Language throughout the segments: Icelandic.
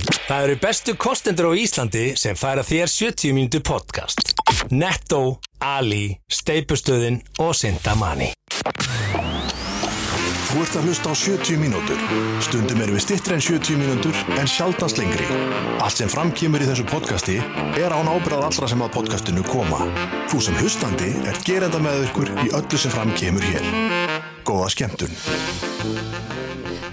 Það eru bestu kostendur á Íslandi sem færa þér 70 mínútu podcast. Netto, Ali, Steipustöðin og Sindamani. Þú ert að hlusta á 70 mínútur. Stundum erum við stittri en 70 mínútur en sjaldast lengri. Allt sem framkýmur í þessu podcasti er án ábyrðað allra sem að podcastinu koma. Þú sem hlustandi er gerenda með ykkur í öllu sem framkýmur hér. Góða skemmtun.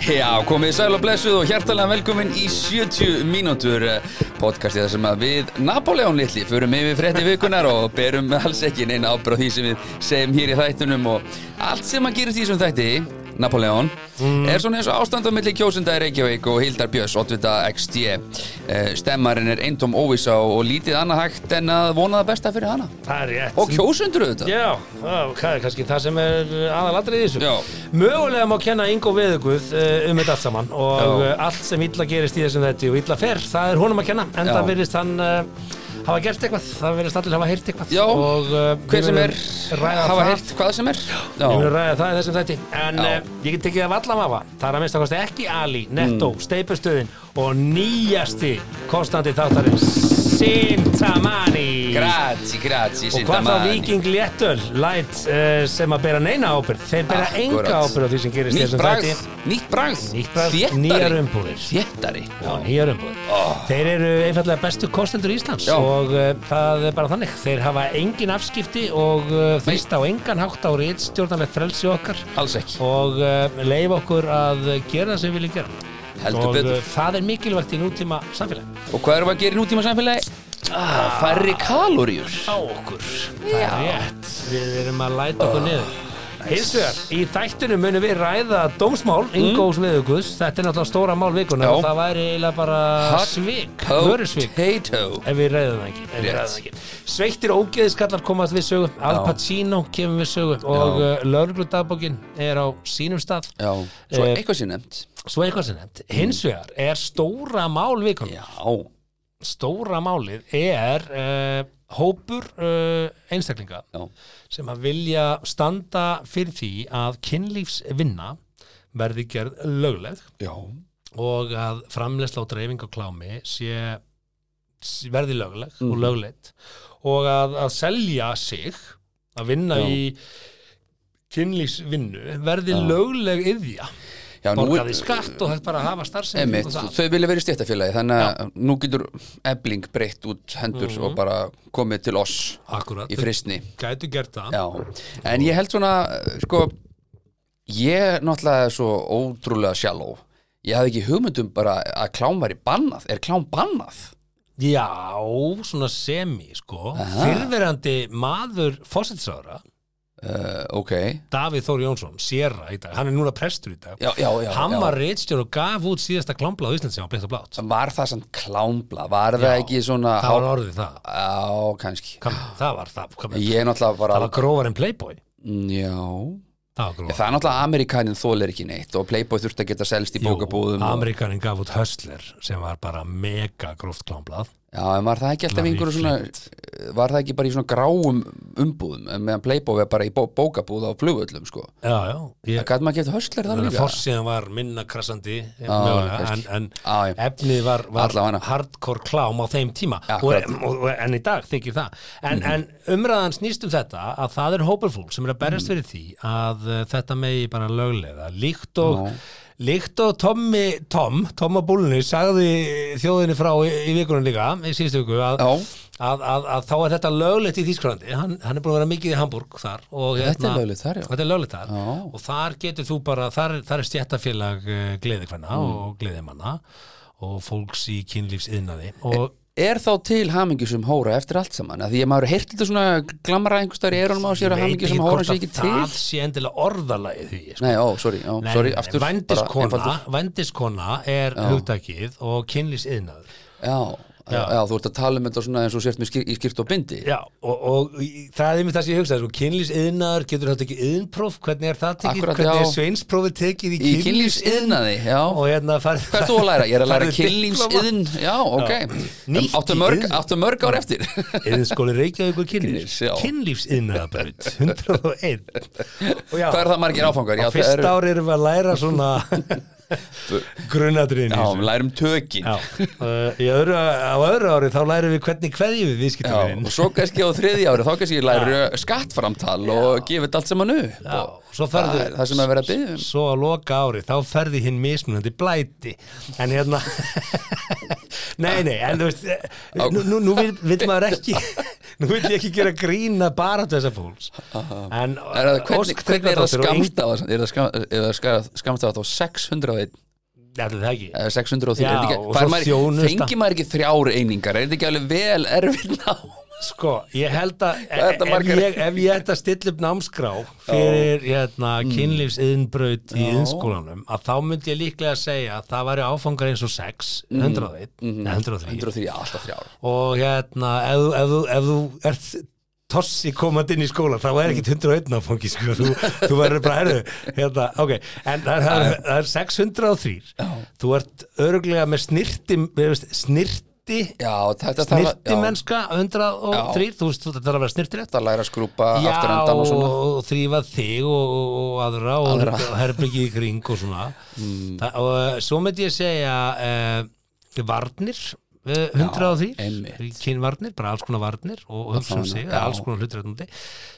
Já, komið sæl og blessuð og hjertalega velkomin í 70 mínútur eh, podcastið þar sem að við Napoleon litli förum yfir frétti vikunar og berum alls ekki neina ábráð því sem við segjum hér í þættunum og allt sem að gerist í þessum þætti Napoleon Mm. er svona eins og ástand á milli kjósunda í Reykjavík og Hildar Björns, Otvita XD Eh, Stemmarinn er eintóm óvisa og, og lítið annað hægt en að vona það besta fyrir hana Það er rétt. og kjósundur auðvitað Já, á, það er kannski það sem er aðalatrið í þessu. Já. Mögulega má kenna Ingo Veðuguð eh, um þetta allt saman og Já. Já. allt sem illa gerist í þessum þetta og illa fer, það er honum að kenna. En Já. það verðist hann uh, hafa gert eitthvað, það verðist allir hafa heyrt eitthvað. Já, og, eh, hver við sem er munum ræða hafa það. heyrt hvað sem er Við Já. verðum að ræða það í þessum þætti En Já. uh, ég get tekið af allan vafa Það er að minnst að kosti ekki Ali, Netto, mm. Steipustöðin Og nýjasti kostandi þáttarinn Sintamani Grazie, grazie Og hvað þá Sintamani. Viking Léttöl Light uh, sem að bera neina ábyrgð Þeir bera Akkurat. enga ábyrgð á því sem gerist í Nýtt þessum bragð, þætti nýtt bragð, Nýtt bragð, Þéttari. nýjar umbúðir. Þéttari Já, nýjar umbúðir Oh. Þeir eru einfallega bestu kostendur Íslands Já. og uh, það er bara þannig Þeir hafa engin afskipti og uh, þrýsta á engan hátt á rítstjórnarlegt frelsi okkar Alls ekki, og uh, leif okkur að gera það sem við viljum gera heldur og betur uh, það er mikilvægt í nútíma samfélagi Og hvað erum við að gera í nútíma samfélagi? Ah, færri kaloríur á okkur það er rétt, við erum að læta okkur niður Hins vegar, í þættunum munum við ræða dómsmál, Ingóðs mm. viðugus þetta er náttúrulega stóra mál vikuna Já. og það væri eiginlega bara Hot svik, vörusvik Potato ef við ræðum það ekki, ef við Rétt. ræðum það ekki. sveittir og ógeðiskallar komast við sögu Al Já. Pacino kemur við sögu og Já. uh, lögregludagbókin er á sínum stað Já, svo Eh, eitthvað sér nefnt Svo eitthvað sem nefnt, hins vegar er stóra mál vikun Já, Stóra málið er uh, hópur uh, einstaklinga já, sem að vilja standa fyrir því að kynlífsvinna verði gerð lögleg já og að framleysla og dreifing á klámi sé, sé verði lögleg Mhm. og lögleitt og að, að selja sig að vinna Já. í kynlífsvinnu verði lögleg yðja, Já, nú er borgaði skatt og hægt bara að hafa starfsemi Einmitt, og það. þau vilja verið stéttafélagi þannig að nú getur ebling breytt út hendur Mhm. og bara komið til oss Akkurat, í fristni gætu gert það Já, en ég held svona sko, ég náttúrulega er svo ótrúlega sjáló ég hafði ekki hugmyndum bara að klám væri bannað, er klám bannað? Já, svona semi sko Aha. Fyrverandi maður fósitsára Uh, Eh, ok, Davíð Þór Jónsson, sérra í dag Hann er núna prestur í dag já, já, já Hann já. var reitstjórn og gaf út síðasta klámbla á Ísland sem var bleitt og blátt Var það samt klámbla, var það Já, ekki svona Það var orðið það Já, kannski Kam, Það var það kam, Ég er náttúrulega Það bara var grófar en Playboy Já, Það var grófar það er náttúrulega Amerikanin þólir ekki neitt og Playboy þurfti að geta selst í bókabúðum og... Amerikanin gaf út Hustler sem var bara mega gróft klámblað Já, en var það ekki alltaf Var í einhverju svona eh, Var það ekki bara í svona gráum umbúðum en meðan Playboy er bara í bó bókabúð á flugvöllum sko Já, já Það ég, gæti maður gett hörslar þar Þannig að líka forsíðan var minna krassandi eh, Já, mögulega, en, kannski. en Ah, Já, já. efnið var, var Allavega. hardcore klám á þeim tíma og, Akkurat. Mhm. og, og, en í dag þykir það en, en umræðan snýst um þetta að það er hópur fólk sem er að Mhm. berjast fyrir því að uh, þetta megi bara löglega líkt og Já. Líkt og Tommy Tom, Tom að búlunni sagði þjóðinni frá í, í vikunum líka í síðustu viku að, Já. að, að, að þá er þetta löglegt í Þýskrandi hann, hann er búin að vera mikið í Hamburg þar og hérna- Þetta er löglegt þar, já. Þetta er löglegt þar Já. og þar getur þú bara, þar, þar er stjættafélag gleðikvenna mm. og gleðimanna og fólks í Eh, kynlífsiðnaði og Er þá til hamingjusum hóra eftir allt saman að Því að maður hefur heyrt þetta svona glamra einhverstaðar í erunum á sér að hamingjusum hóra sé ekki til það sé endilega orðalagið því sko. Nei, ó, sorry, ó, Nei, sorry nei, nei, aftur bara Vændiskona, einfaldur. vændiskona er hugtakið og kynlífsiðnaður já, já. já, þú ert að tala um þetta svona eins og sért með skýr, í skýrt og bindi Já, og, og í- það er einmitt það sem ég hugsaði, sko, kynlífsiðnaður, getur þetta ekki yðnpróf, hvernig er það tekið, Akkurat, hvernig er já. sveinsprófið tekið í Í kynlífsiðnaði, kynlífsiðnaði já og hérna farið Hvað ert þú að læra? Ég er að læra farið diplóma. kynlífsiðn Já, ok Nýtt Áttu í mörg, iðn. áttu mörg ár eftir Iðnskóli Reykjavíkur Kynlífs, kynlífs já. Kynlífsiðnaðabraut 101 og já, Hvað er það margir áfangar? á Já, það fyrsta eru- ári erum við að læra svona grunnatriðin Já, við lærum tökin Já, uh, í öðru, á öðru ári þá lærum við hvernig hverjum við Já, viðskiptum og svo kannski á þriðja ári þá kannski lærum skattframtal og gefið þetta allt saman upp Já, og svo ferðu- það, er það sem er verið að byggja um svo að loka ári þá ferði hinn mismunandi blæti en hérna nei nei en þú veist eh, nú, nú, nú vil, vil maður ekki nú vil ég ekki gera grína bara til þessa fólks Er en það, hvernig, Ósk hvernig er það Tryggvadóttir og Ing- skamstafa er það, skam, er það ska, skamstafa þá 601 Ætli það ekki eða 603 Já, er þetta og ekki- fær svo maður- þjónusta. fengi maður ekki þrjár einingar er þetta ekki alveg vel erfið ná Sko, ég held að Hvað er þetta ef margar? ég, ef ég ætti að stilla upp námskrá fyrir hérna, Mm. kynlífsiðinbraut í innskólanum að þá myndi ég líklega að segja að það væri áfangar eins og 6, 101, Mm-hmm. mm. 103 103, alltaf þrjár og hérna, ef, þú- ef, þú- ef þú ert tossi komandi inn í skóla þá er Mm. ekkit 101 áfangi sko, þú, þú verður bara herðu hérna, ok, en það, það, er- það er 603 þú ert örglega með snirti snirti Já, þetta þarf að- snirti já, mennska 103, þú veist, þú- þetta þarf að vera snirtilegt þetta læra að skrúpa Já, afturendan og svona og þrýfa þig og, og, og aðra og aðra. herbyggið í kring og svona Mm. Þa, og eh, svo myndi ég segja uh, varnir eh, 103, einmitt. kynvarnir bara alls konar varnir og hugsa um sig já. alls konar hlutrætandi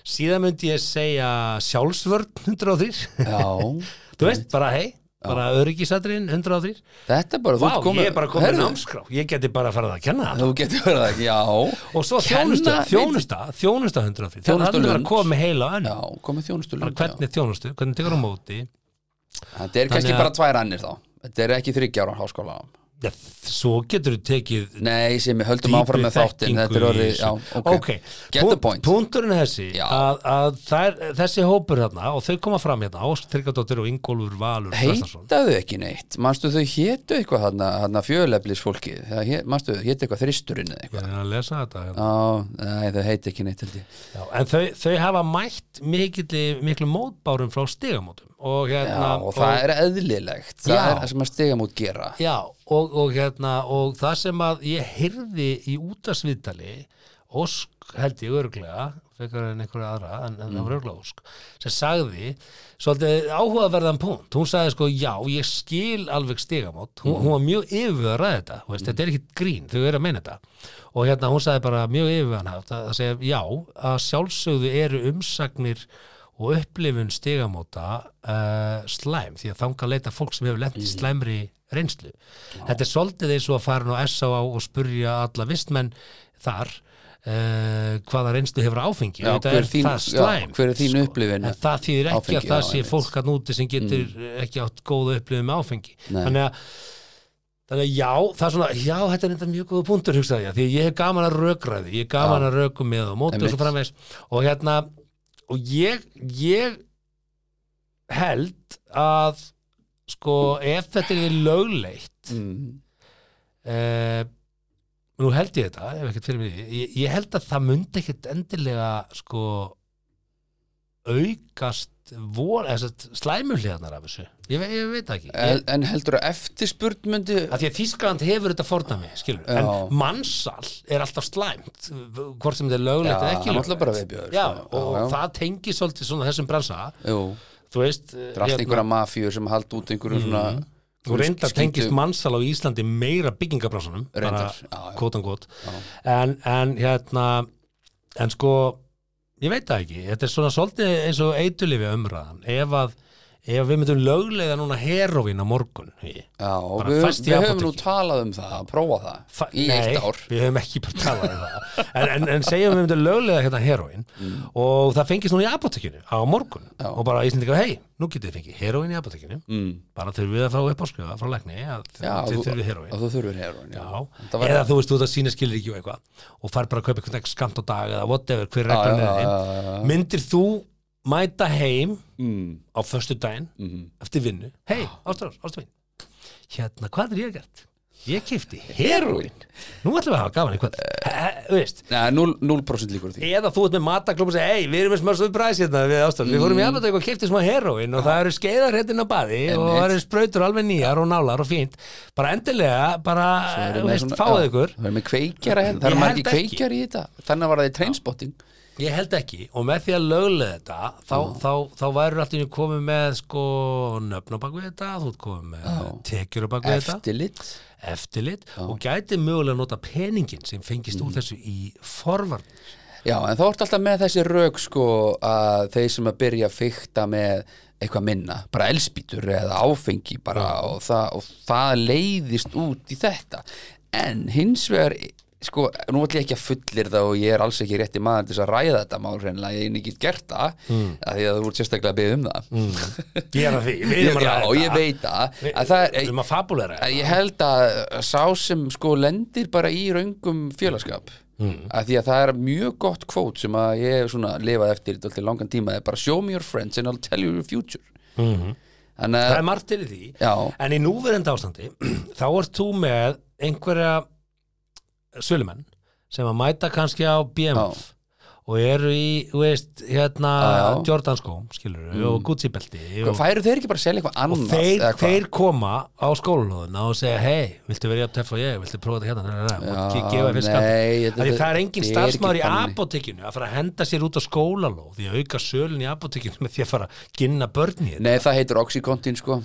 síðan myndi ég segja sjálfsvörn 103 Já, þú veist, bara hei bara öryggisadrin 103 þetta er bara þú Vá, ert komin- ég er bara komin Heyrðu, námskrá ég geti bara farið að kenna það Þú getur verið það, já og svo Kenna- þjónusta, þjónusta, þjónusta Þjónusta 103 þannig að það er Lund. að koma með heila önn Já, komið þjónustu bara hvernig þjónustu, hvernig tekur á móti Þetta er kannski Þannig að- bara tvær annir þá Þetta er ekki þryggjára háskóla ja, svo getur þú tekið Nei, sem við höldum dýpri áfram með þáttin þekkingu Þetta er í orðið, þessu. já, ok, Get the Pún- point Punkturinn er þessi Já. að, að þær, þessi hópur hérna og þau koma fram hérna, Ásk Tryggardóttir og Ingólfur Valur Þrastarsson. Heitaðu ekki neitt, manstu þau hétu eitthvað þarna, þarna fjöleflis fólkið Manstu þau hétu eitthvað þristurinn eða Ég eitthvað er að lesa þetta hérna. Já, nei, þau heiti ekki neitt held ég Já, en þau, þau hafa mætt mikilli, miklu mótbárum frá stigamótum og Já, hérna og það er eðlilegt Það Já. er það sem að stiga mút gera Já, og, og hérna og það sem að ég heyrði í útasviðtali Ósk held ég örglega fekar en einhverja aðra, en, en það var örglega Ósk sem sagði, svolítið áhugaverðan punkt, hún sagði sko já, ég skil alveg stigamót hún, hún var mjög yfirvöðrað þetta, þú veist, þetta er ekki grín þau eru að meina þetta og hérna hún sagði bara mjög yfirvöðanhaft að, að segja já, að sjálfsögðu eru umsagnir og upplifun stigamóta uh, slæm því að þanga leita fólk sem hefur lent Mhm. í slæmri reynslu. Þetta er svolítið eins og að fara nú á S.A. og spurja alla vistmenn þar uh, hvaða reynslu hefur áfengi Já, þetta hver er þín- það já, slæm hver er þín upplifun en það þýðir ekki áfengi, að það já, sé einmitt. Mm. fólk að núti sem getur ekki átt góða upplifun með áfengi þannig að Þannig að já, það er svona, já, þetta er enda mjög góða punktur, hugsaði ég, því að ég hef gaman að rökraði, ég hef gaman að röku með og móti og Einmitt. svo framvegs og hérna, og ég, ég held að, sko, ef þetta er lögleitt, mm. eh, nú held ég þetta, ef ekkert fyrir mig, því, ég, ég held að það myndi ekkert endilega, sko, aukast vor, eða sem sagt, slæmuhliðarnar af þessu, ég, ve- ég veit það ekki. Ég, En en heldurðu að eftirspurn myndi að því að Þískland hefur þetta fordæmi skilur, Já. en mannsal er alltaf slæmt hvort sem þetta er Já, löglegt eða það ekki er náttúrulega löglegt bara viðbjöður já, sko. og já, já. það tengi svolítið svona þessum bransa Jú. þú veist, eh, hérna, Það er allt einhverja mafíur sem haldi út einhverju svona og reynda skítu- Mhm. tengist mannsal á Íslandi meira byggingabransanum Reyndar, já, já. kvotan kvot en, en hérna en sko, ég veit það ekki þetta er svona svolítið eins og eitulifja umræðan ef að ef við myndum löglega núna herovín á morgun í Já, og Bara við, fast í við höfum nú apóteki. talað um það, að prófa það Fa- í Nei, eitt ár við höfum ekki bara talað um það en, en, en segjum við myndum löglega hérna heroin Mm. og það fengist núna í apotekinu á morgun og bara Íslandika, hei, nú getið þið fengið heroin í apotekinu mm. bara þurfum við að fá upp áskrifa frá lækni að Já, þið þú- þurfum við heroin að þú þurfir heroin já. Já, Það var- eða þú veist, þú ert að sína skilur ekki og eitthvað og far bara að kaupa eitthvað skamt á dag eða whatever, hver Já, já, reglan er já, þinn já, já. myndir þú mæta heim Mm. Mhm. á föstu daginn eftir vinnu hei, ástrás, ástu mín hérna, hvað er ég að gert? Ég kefti heroin Nú ætlum við að hafa gaman eitthvað Eh. He- he- eh, veist, Nei, 0%, 0 líkur á því Eða þú ert með mataklum og segja Hei, við erum með smörstuð bræs hérna við ástæðum Við fórum í Mm. afnættu og kefti smá heroin Og það eru skeiðar hérna á baði Og Einmitt. það eru sprautur alveg nýjar og nálar og fínt Bara endilega, bara, Erum með þú veist, svona- fáið já, ykkur Það er með kveikjara hérna, það Ég er held margir ekki. kveikjari í þetta Þannig var það í trainspotting Ég held ekki og með því að löglega þetta þá, þá, þá væru allir komið með sko nöfn á bakvið þetta þú ert komið með Já. tekjur á bakvið þetta Eftirlit eftirlit og gæti mögulega nota peningin sem fengist úr þessu í forvarnir Já, en þá ertu alltaf með þessi rauk sko að þeir sem að byrja að fykta með eitthvað minna, bara elspítur eða áfengi bara og, það, og það leiðist út í þetta en hins vegar sko, nú ætlum ég ekki að fullir það og ég er alls ekki rétti maður til þess að ræða þetta mál reynilega, ég er ekki gert það mm. að því að þú ert sérstaklega að byggja um það Gera því, við erum Mm. um að Já, ræða ég þetta. veit það Við- að það Við er, erum að fabulera að Eh, ég held að sá sem sko lendir bara í raungum félagskap mm. að því að það er mjög gott kvót sem að ég hef svona lifað eftir alltaf langan tíma það er bara show me your friends and I'll tell you your future -hmm. þannig Mhm. Það að er margt til í því já, En í núverend ástandi, þá ert þú með einhverja sölumenn sem að mæta kannski á BMF og eru í, þú veist, hérna Já, já. Jordan skóm, skilur og Gucci belti og, færu þeir ekki bara að selja eitthvað og annað þeir, eða hvað? þeir koma á skólanóðuna og segja, hei, viltu vera jafn töff og ég, viltu prófa þetta hérna Nei, nei, nei, og Já, ge- gefa fyrir nei, skatt þetta- Því það er engin þetta er starfsmæður í ekki þannig. apotekinu að fara að henda sér út á skólanóð því að auka sölun í apotekinu með því að fara að ginna börn í þetta Nei, það heitir Oxycontin sko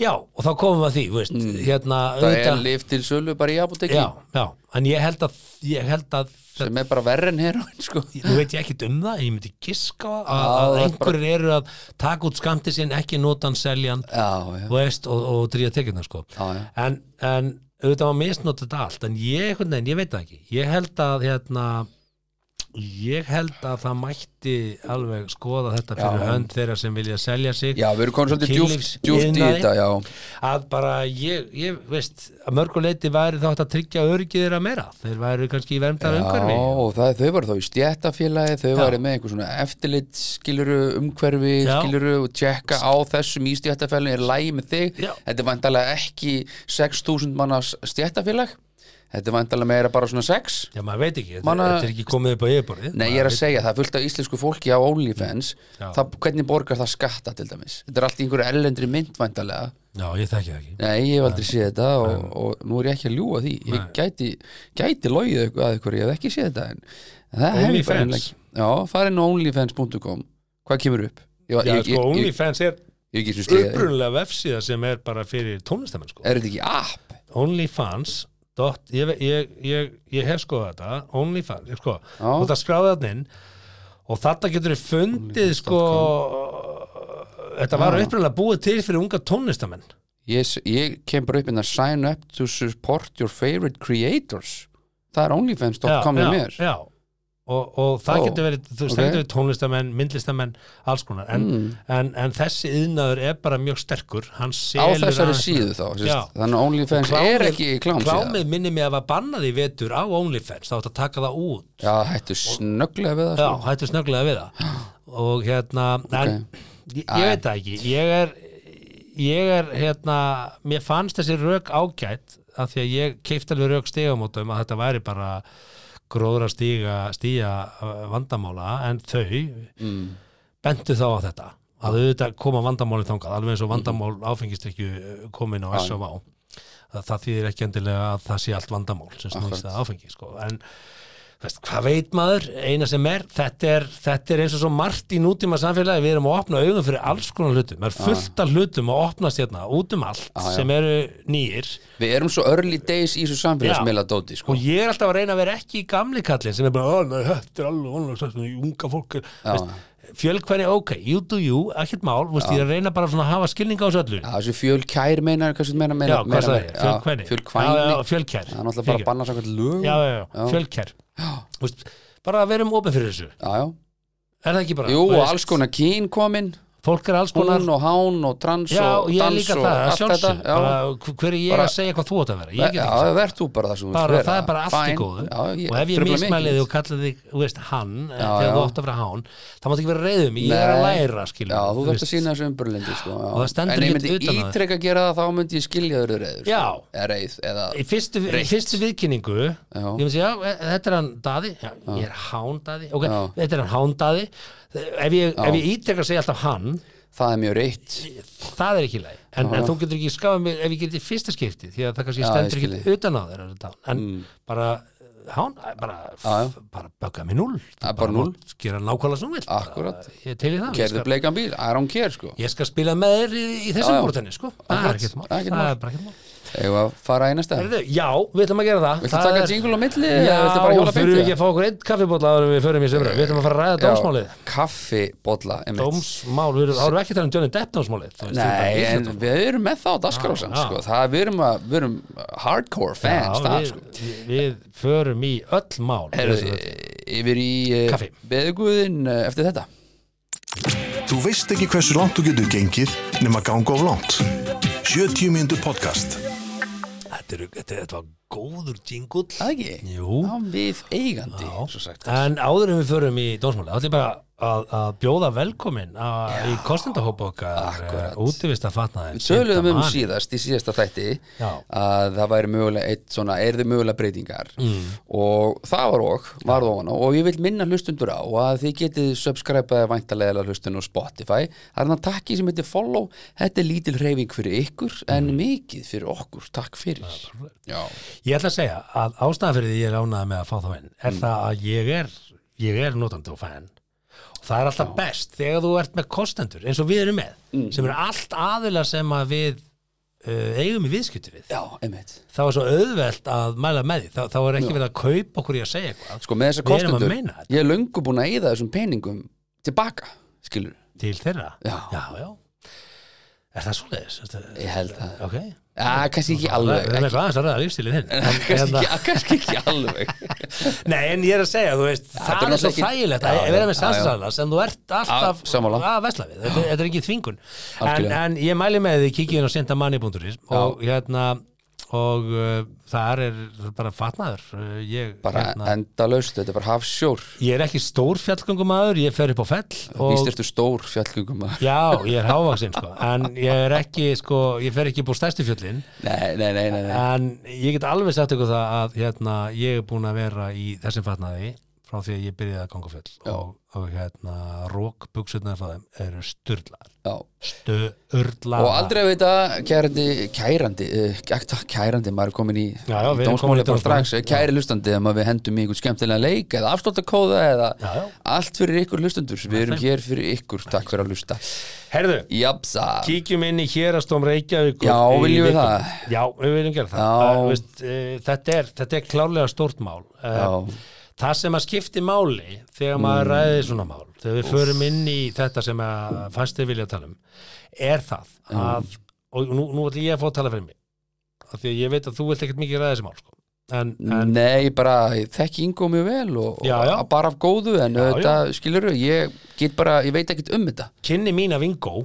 Já, og þá komum við að því, þú veist, hérna Mm. Það er auðvitað- lif til sölu bara í apotekki já, já, en ég held að ég held að, sem er bara verri en heroin sko nú veit ég ekkit um það ég myndi giska á að, Já, að það er einhverjir eru að taka út skamti sinn ekki notan seljan Já, já, þú veist, og, og dríða tekjurnar sko Já, já. en, en auðvitað var misnótt þetta allt en ég, einhvern veginn, ég veit það ekki ég held að hérna ég held að það mætti alveg skoða þetta fyrir Já. hönd þeirra sem vilja selja sig já við erum konum svolítið djúft, djúft í Kynlífsiðnaði. þetta já. að bara ég, ég veist að mörguleiti væri þá hægt að tryggja öryggi þeirra meira, þeir væri kannski í verndar umhverfi Já, og það, þau var þá í stjættafélagi þau Já. var með einhver svona eftirlit skiluru umhverfi, Já. skiluru og tjekka á þessum í stjættafélagi er lægi með þig, Já. þetta er vandalega ekki 6.000 manna stjættafélag þetta er vandalega meira bara svona 6 Já, maður veit ekki, þetta, Manna- þetta er ekki komið upp á yfirborðið Nei, ég er að segja, það er fullt af íslensku fólki á OnlyFans Já. það, hvernig borgar það skatta til dæmis þetta er allt í einhverju ellendri mynd vandalega Já, ég þekki það ekki Nei, ég hef aldrei séð þetta og, og nú er ég ekki að ljúga því ég gæti, gæti logið ykkur að ykkur, ég hef ekki séð þetta en en það hef ég bara OnlyFans. einlega- Já, farin á onlyfans.com hvað kemur upp? Ég, Já, ég, sko, ég, ég, OnlyFans er ég, ég, ég, Eh. ég, ég, upprunulega vefsíða sem er bara fyrir tónlistamenn sko. Er þetta ekki app? Onlyfans dot, ég, ve- ég, ég, ég hef skoðað þetta Onlyfans, ég sko Já. og það skráði þarna inn og þetta getur þið fundið sko þetta var upprunulega búið til fyrir unga tónlistamenn Ég, s- ég kem bara upp inn að sign up to support your favorite creators það er onlyfans.com já, með mér já. Og, og það Ó, getur verið, þú ok. veist, Hmm. það getur verið tónlistamenn, myndlistamenn, alls konar en, en, en þessi yðnaður er bara mjög sterkur hann á selur þessari aðeins- síðu þá Já. sérst, þannig að onlyfans er ekki klám síðan klámið minni mig að var bannað í vetur á OnlyFans, þá átt að taka það út Já, hættu snögglega við það já, sko. hættu snögglega við það og hérna, en ég, ég veit það ekki ég er ég er hérna, mér fannst þessi rök ágætt af því að ég keifti alveg rök stigamótum að þetta væri bara gróðra stíga, stíga uh, vandamála en þau mm. bentu þá á þetta að auðvitað koma vandamáli þangað alveg eins og vandamál Mhm. áfengistrykju komin á S.O.V. að það þýðir ekki endilega að það sé allt vandamál sem snýst að áfengi sko. en veist, hvað veit maður, eina sem er þetta, er þetta er eins og svo margt í nútíma samfélagi, við erum að opna augun fyrir alls konar hlutum, það er fullt af hlutum að opnast hérna, út um allt, sem eru nýir, Við erum svo early days í þessu samfélagsmiðla dóti sko. og ég er alltaf að reyna að vera ekki í gamli kallin sem er bara, "Ó, nei, þetta er alveg vonlega svona í unga fólk er-" veist, fjölkvæni, ok, you do you, ekkert mál veist, ég er að reyna bara svona að hafa skilninga á þessu öllu Já, þessu fjölkær meinar, hvað sem meina meina já, hvað það er, fjölkvæni Fjölkvæni, Já, já, fjölkær, það er náttúrulega bara að banna samkvæmt lög já, já, já, fjölkær veist, bara að vera um opið fyrir þessu já, já. er það ekki bara Jú, þú og veist, alls konar kín komin fólk er alls konar Hún og hán og trans Já, og ég er dans líka og það, allt þetta sjálfsög Hver er ég Bara- að segja hvað þú átt að vera? Ég get Já, ekki sagt. verð þú bara það sem þú vilt bara, vera. það er bara allt í Fine. góðu Já, og ef ég trufla mig mismælið ekkert. og kallið þig þú veist, hann, já, þegar já. þú átt að vera hán þá mátt ekki vera reyðum, ég er að Nei. læra skilur, Já, þú þarft veist. að sína þessu umburlendi sko, já. Og það stendur En ég ekkert myndi utan á þér. ítrekka að gera það, þá myndi ég skilja þurru reyður sko. Já. Eða reyð, eða í fyrstu, í Reitt. fyrstu viðkynningu ég myndi segja, já, e, þetta er hann daði já, ég er hán daði, ok, Já. þetta er hann hán daði ef ég, ef ég ítrekka að segja alltaf hann það er mjög reytt það er ekki læg en, en þú getur ekki skáðið mig ef ég getur í fyrsta skipti því að það kannski Já, stendur ég skil ekki utan á þeirra en bara eh, hán, bara, Mm. Já, já. f- bara bökka mig núll bara núll. mátt gera nákvæmlega sem þú vilt bara. Akkúrat. ég er til í það ég Kerðu skal, bleikan bíl, I don't care sko ég skal spila með þér í, í Já, þessum já. mótenni sko. það er Akkúrat. ekkert mál Það er ekkert Það mál. er bara ekkert mál. Eða að fara einasta Viltu Heyrðu, já, við ætlum að gera það Það taka er- jingle á milli Já, eða viltu bara hjóla þurfum við ekki beint að fá okkur einn kaffibólla áður en við förum í sömru Við ætlum að fara að ræða dómsmálið Kaffi, bolla, Dómsmál, við erum þá erum við ekki að tala um Johnny Depp dómsmálið þú veist, Nei, við erum bara í en Íslandsdómsmálið. við erum með það á dagskrásan Já, já. sko. það, við, erum að, við erum hardcore fans ah. Já, það, við, sko. við, við förum í öll mál Heru, Við- Yfir í uh, Kaffi. beðguðin uh, eftir þetta Þú veist ekki hversu langt þú getur gengið nema ganga of langt. 70 mínútur podcast. Þetta, eru- þetta, þetta var góður jingull Það ekki? Jú. Já, við eigandi svo sagt. En áður en við förum í dómsmáli ætlum ég bara að, að bjóða velkomin að, í kostendahópa okkar eh, Akkúrat. útivist að fatna þeim Töluðum um síðast í síðasta þætti Já. að það væri mögulega eitt svona, erði mögulega breytingar Mm. og það var ok, varð ofan á og ég vil minna hlustundur á að þið getið subscribeaði væntalega hlustun og Spotify það er þannig takki sem heitir follow þetta er lítil hreyfing fyrir ykkur Mm. en mikið fyrir okkur, takk fyrir Já, Ég ætla að segja að ástæðan fyrir því ég er ánæða með að fá þá inn er það að ég er, ég er notandi og fan og það er alltaf best þegar þú ert með kostendur eins og við erum með sem eru allt aðila sem að við uh, eigum í viðskiptu við Já einmitt þá er svo auðvelt að mæla með því þá, þá er ekki verið að kaupa okkur í að segja eitthvað Sko með þessa Við erum að kostendur, meina þetta. ég er löngu búin að eyða þessum peningum tilbaka, skilur til þeirra Já. já, já. Er það svoleiðis? Ég held það Ok Já, Ah, kannski ekki alveg Við erum eitthvað aðeins að ræða lífstílinn hinn En kannski, hérna- ekki, kannski ekki alveg Nei, en ég er að segja, þú veist, þetta er það er svo náttúrulega ekki- þægilegt Já, að já, vera með já, sannsala sem þú ert alltaf Já, sammála. að vesla við, þetta, þetta er ekki þvingun en, Algjörlega. en ég mæli með því kikið inn á sindamanni.is og hérna og uh, þar er bara fatnaður uh, ég, bara hérna, endalaust, þetta er bara hafsjór ég er ekki stór fjallgöngumæður ég fer upp á fell og, víst ertu stór fjallgöngum maður Já, ég er hávaksinn sko, en ég er ekki sko, ég fer ekki upp á stærstu fjöllin nei, nei, nei, nei, nei. En ég get alveg sagt ykkur það að hérna, ég er búin að vera í þessum fatnaði frá því að ég byrjaði að ganga fjöll og, og hérna, rókbuksunar frá þeim eru styrlaðar. Já. Styrlaðar. og aldrei að vita kærandi, kærandi uh, ekta kærandi, maður er komin í Já, já, við erum komin dómsmáli bara í dómsmálið. strax, Eh, kæri hlustandi ef maður við hendum í einhvern skemmtilega leik eða afsláttakóða eða Já, já. allt fyrir ykkur hlustundur, við erum hér fyrir ykkur takk fyrir að hlusta Herðu, Japsa, kíkjum inn í hérastóm Reykjavík. Já, viljum við það? Já, við viljum gera það. Já. Uh, veist, uh, þetta, er, þetta er klárlega stórt mál. Eh, Já. það sem að skipti máli þegar maður Mm. ræði svona mál, þegar við förum inn í þetta sem að fannst þið vilja að tala um, er það Mm. að, og nú, nú ætlum ég að fá að tala fyrir mig, af því að ég veit að þú vilt ekkert mikið ræði þessi mál, sko. En, Mm. en nei, bara ég þekki Ingo mjög vel og, Já, já. og bara af góðu en Já, þetta, skilur ég get bara, ég veit ekkert um þetta kynni mín af Ingo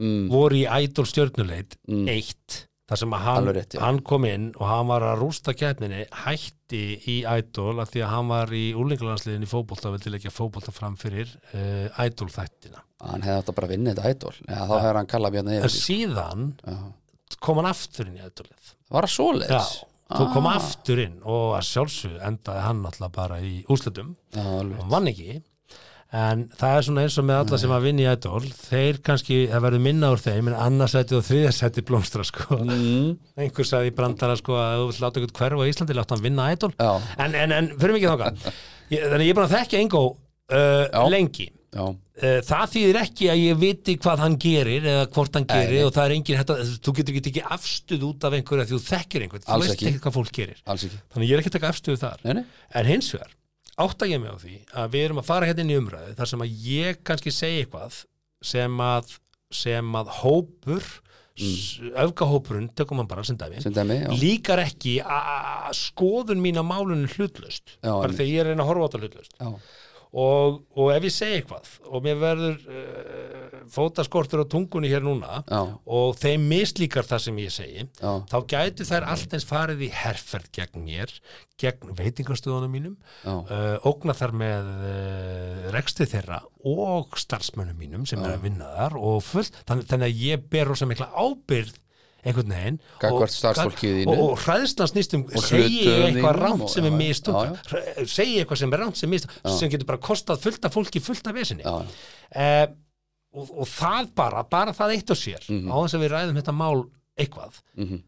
mm, voru í Idol stjörnuleit Mm. eitt, þar sem að hann, Alveg rétt, já. hann kom inn og hann var að rústa keppninni, hætti í Idol af því að hann var í úlingalandsliðin í fótbolta og vildi leggja fótbolta fram fyrir uh, Idol þættina. hann hefði átt að bara vinna þetta ædol ja, þá hefði hann kallað björna En yfir sig. síðan Já. kom hann aftur inn í Idolið. það var að Já, svoleiðis þú kom Ah. aftur inn og að sjálfsög endaði hann alltaf bara í úrslutum Já, alveg. hann vann ekki en það er svona eins og með alla sem að vinna í Idol þeir kannski, það verður minna úr þeim en annarsæti og þriðarsæti blómstra sko. mm. Mhm. einhver sagði í brandara sko, að þú vill láta eitthvað hverfa í Íslandi láta hann vinna Idol Já. en, en, en fyrir mikið þóka þannig að ég er búin að þekkja Ingo uh, Já. lengi Já. Eh, það þýðir ekki að ég viti hvað hann gerir eða hvort hann gerir og það er engin hægt að, þú getur ekki tekið afstuð út af einhverju að þú þekkir einhvern, þú Alls veist ekki. ekki hvað fólk gerir alls ekki þannig ég er ekki að taka afstuð þar nei, nei. en hins vegar, átta ég mig á því að við erum að fara hérna inn í umræðu þar sem að ég kannski segi eitthvað sem að, sem að hópur mm. öfgahópurinn, tökum hann bara sem dæmi sem dæmi, já. líkar ekki að að skoðun mín á málunum hlutlaust Já, bara einmitt. þegar ég er að reyna að horfa á þetta hlutlaust Já. og, og ef ég segi eitthvað og mér verður uh, fótaskortur á tungunni hér núna Já. og þeim mislíkar það sem ég segi Já. þá gætu þær allt eins farið í herferð gegn mér, gegn veitingastöðunum mínum Já. uh, ógna þar með uh, reksti þeirra og starfsmönnum mínum sem er að vinna þar og fullt þannig, þannig að ég ber rosa mikla ábyrgð einhvern veginn Gagnvart og- starfsfólki þínu. og, og hræðslan snýst um segi ég hlutum eitthvað þínum rámt og- sem er já, já. mistúka Já, já. Hrö- segi eitthvað sem er rámt sem, mist, sem getur bara kostað fullt af fólki fullt af vesinni Já. eh, og, og það bara, bara það eitt og sér á þess að við ræðum þetta mál eitthvað Mhm.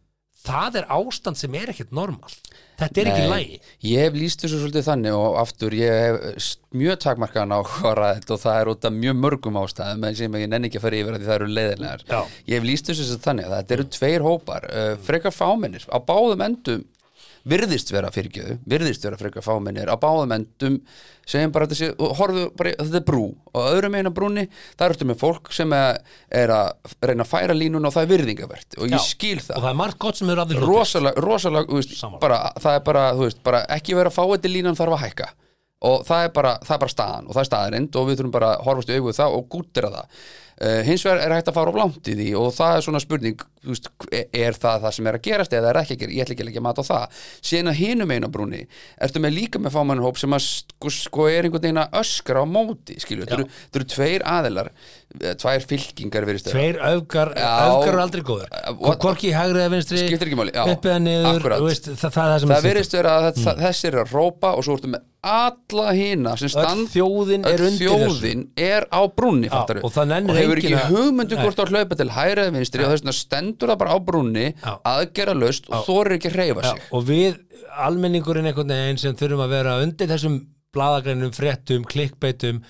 það er ástand sem er ekkert normal þetta er ekki lægi Ég hef líst þessu svolítið þannig og aftur ég hef s- mjög takmarkaðan á þetta og það er út af mjög mörgum ástæðum en sem ég nenni ekki að fara yfir að því það eru leiðinlegar Já. Ég hef líst þessu sem þannig að þetta eru tveir hópar uh, frekar fámennir á báðum endum virðist vera fyrirgjöðu, virðist vera frekar fámennir á báðum endum segjum bara þessi, horfðu bara, í- þetta er brú og öðrum eina brúni, það ertu með fólk sem er er að reyna að færa línun og það er virðingavert og ég skil og það er margt gott sem eru að því rosalega, rosalega þú veist, Sammála. bara, það er bara, þú veist, bara ekki vera að fá þetta línan þarf að hækka og það er bara, það er bara staðan og það er staðarind og við þurfum bara að horfast í augu við það og gúttira það uh, hins vegar er hægt að fara á blámt í því og það er svona spurning þú veist, e, er það það sem er að gerast eða er ekki að gera, ég ætla ekki að leggja mat á það síðan að hinum einu brúni, ertu með líka með fámannhóp sem að sko, sko er einhvern veginn að öskra á móti, skilju, þetta eru- þetta eru tveir aðilar, eh, tvær fylkingar virðist vera. tveir öfgar, Já. öfgar eru aldrei góður Uh, what- hvorki hægri eða vinstri Skiptir ekki máli, já. upp eða niður Akkúrat. þú veist, það, það er það sem Mm. það verðist vera að þetta, þessir eru að rópa og svo ertu með alla hina sem stand þjóðin er öll undir þjóðin er á brúnni fattaru, og það nennir hefur ekki enginn að- hugmyndu Nei. hvort að hlaupa til hægri eða vinstri og þess vegna stendur það bara á brúnni Já. aðgera laust og þorir ekki að hreyfa Já, sig og við almenningurinn einhvern veginn sem þurfum að vera undir þessum bladagrænum, fréttum, klikkbeitum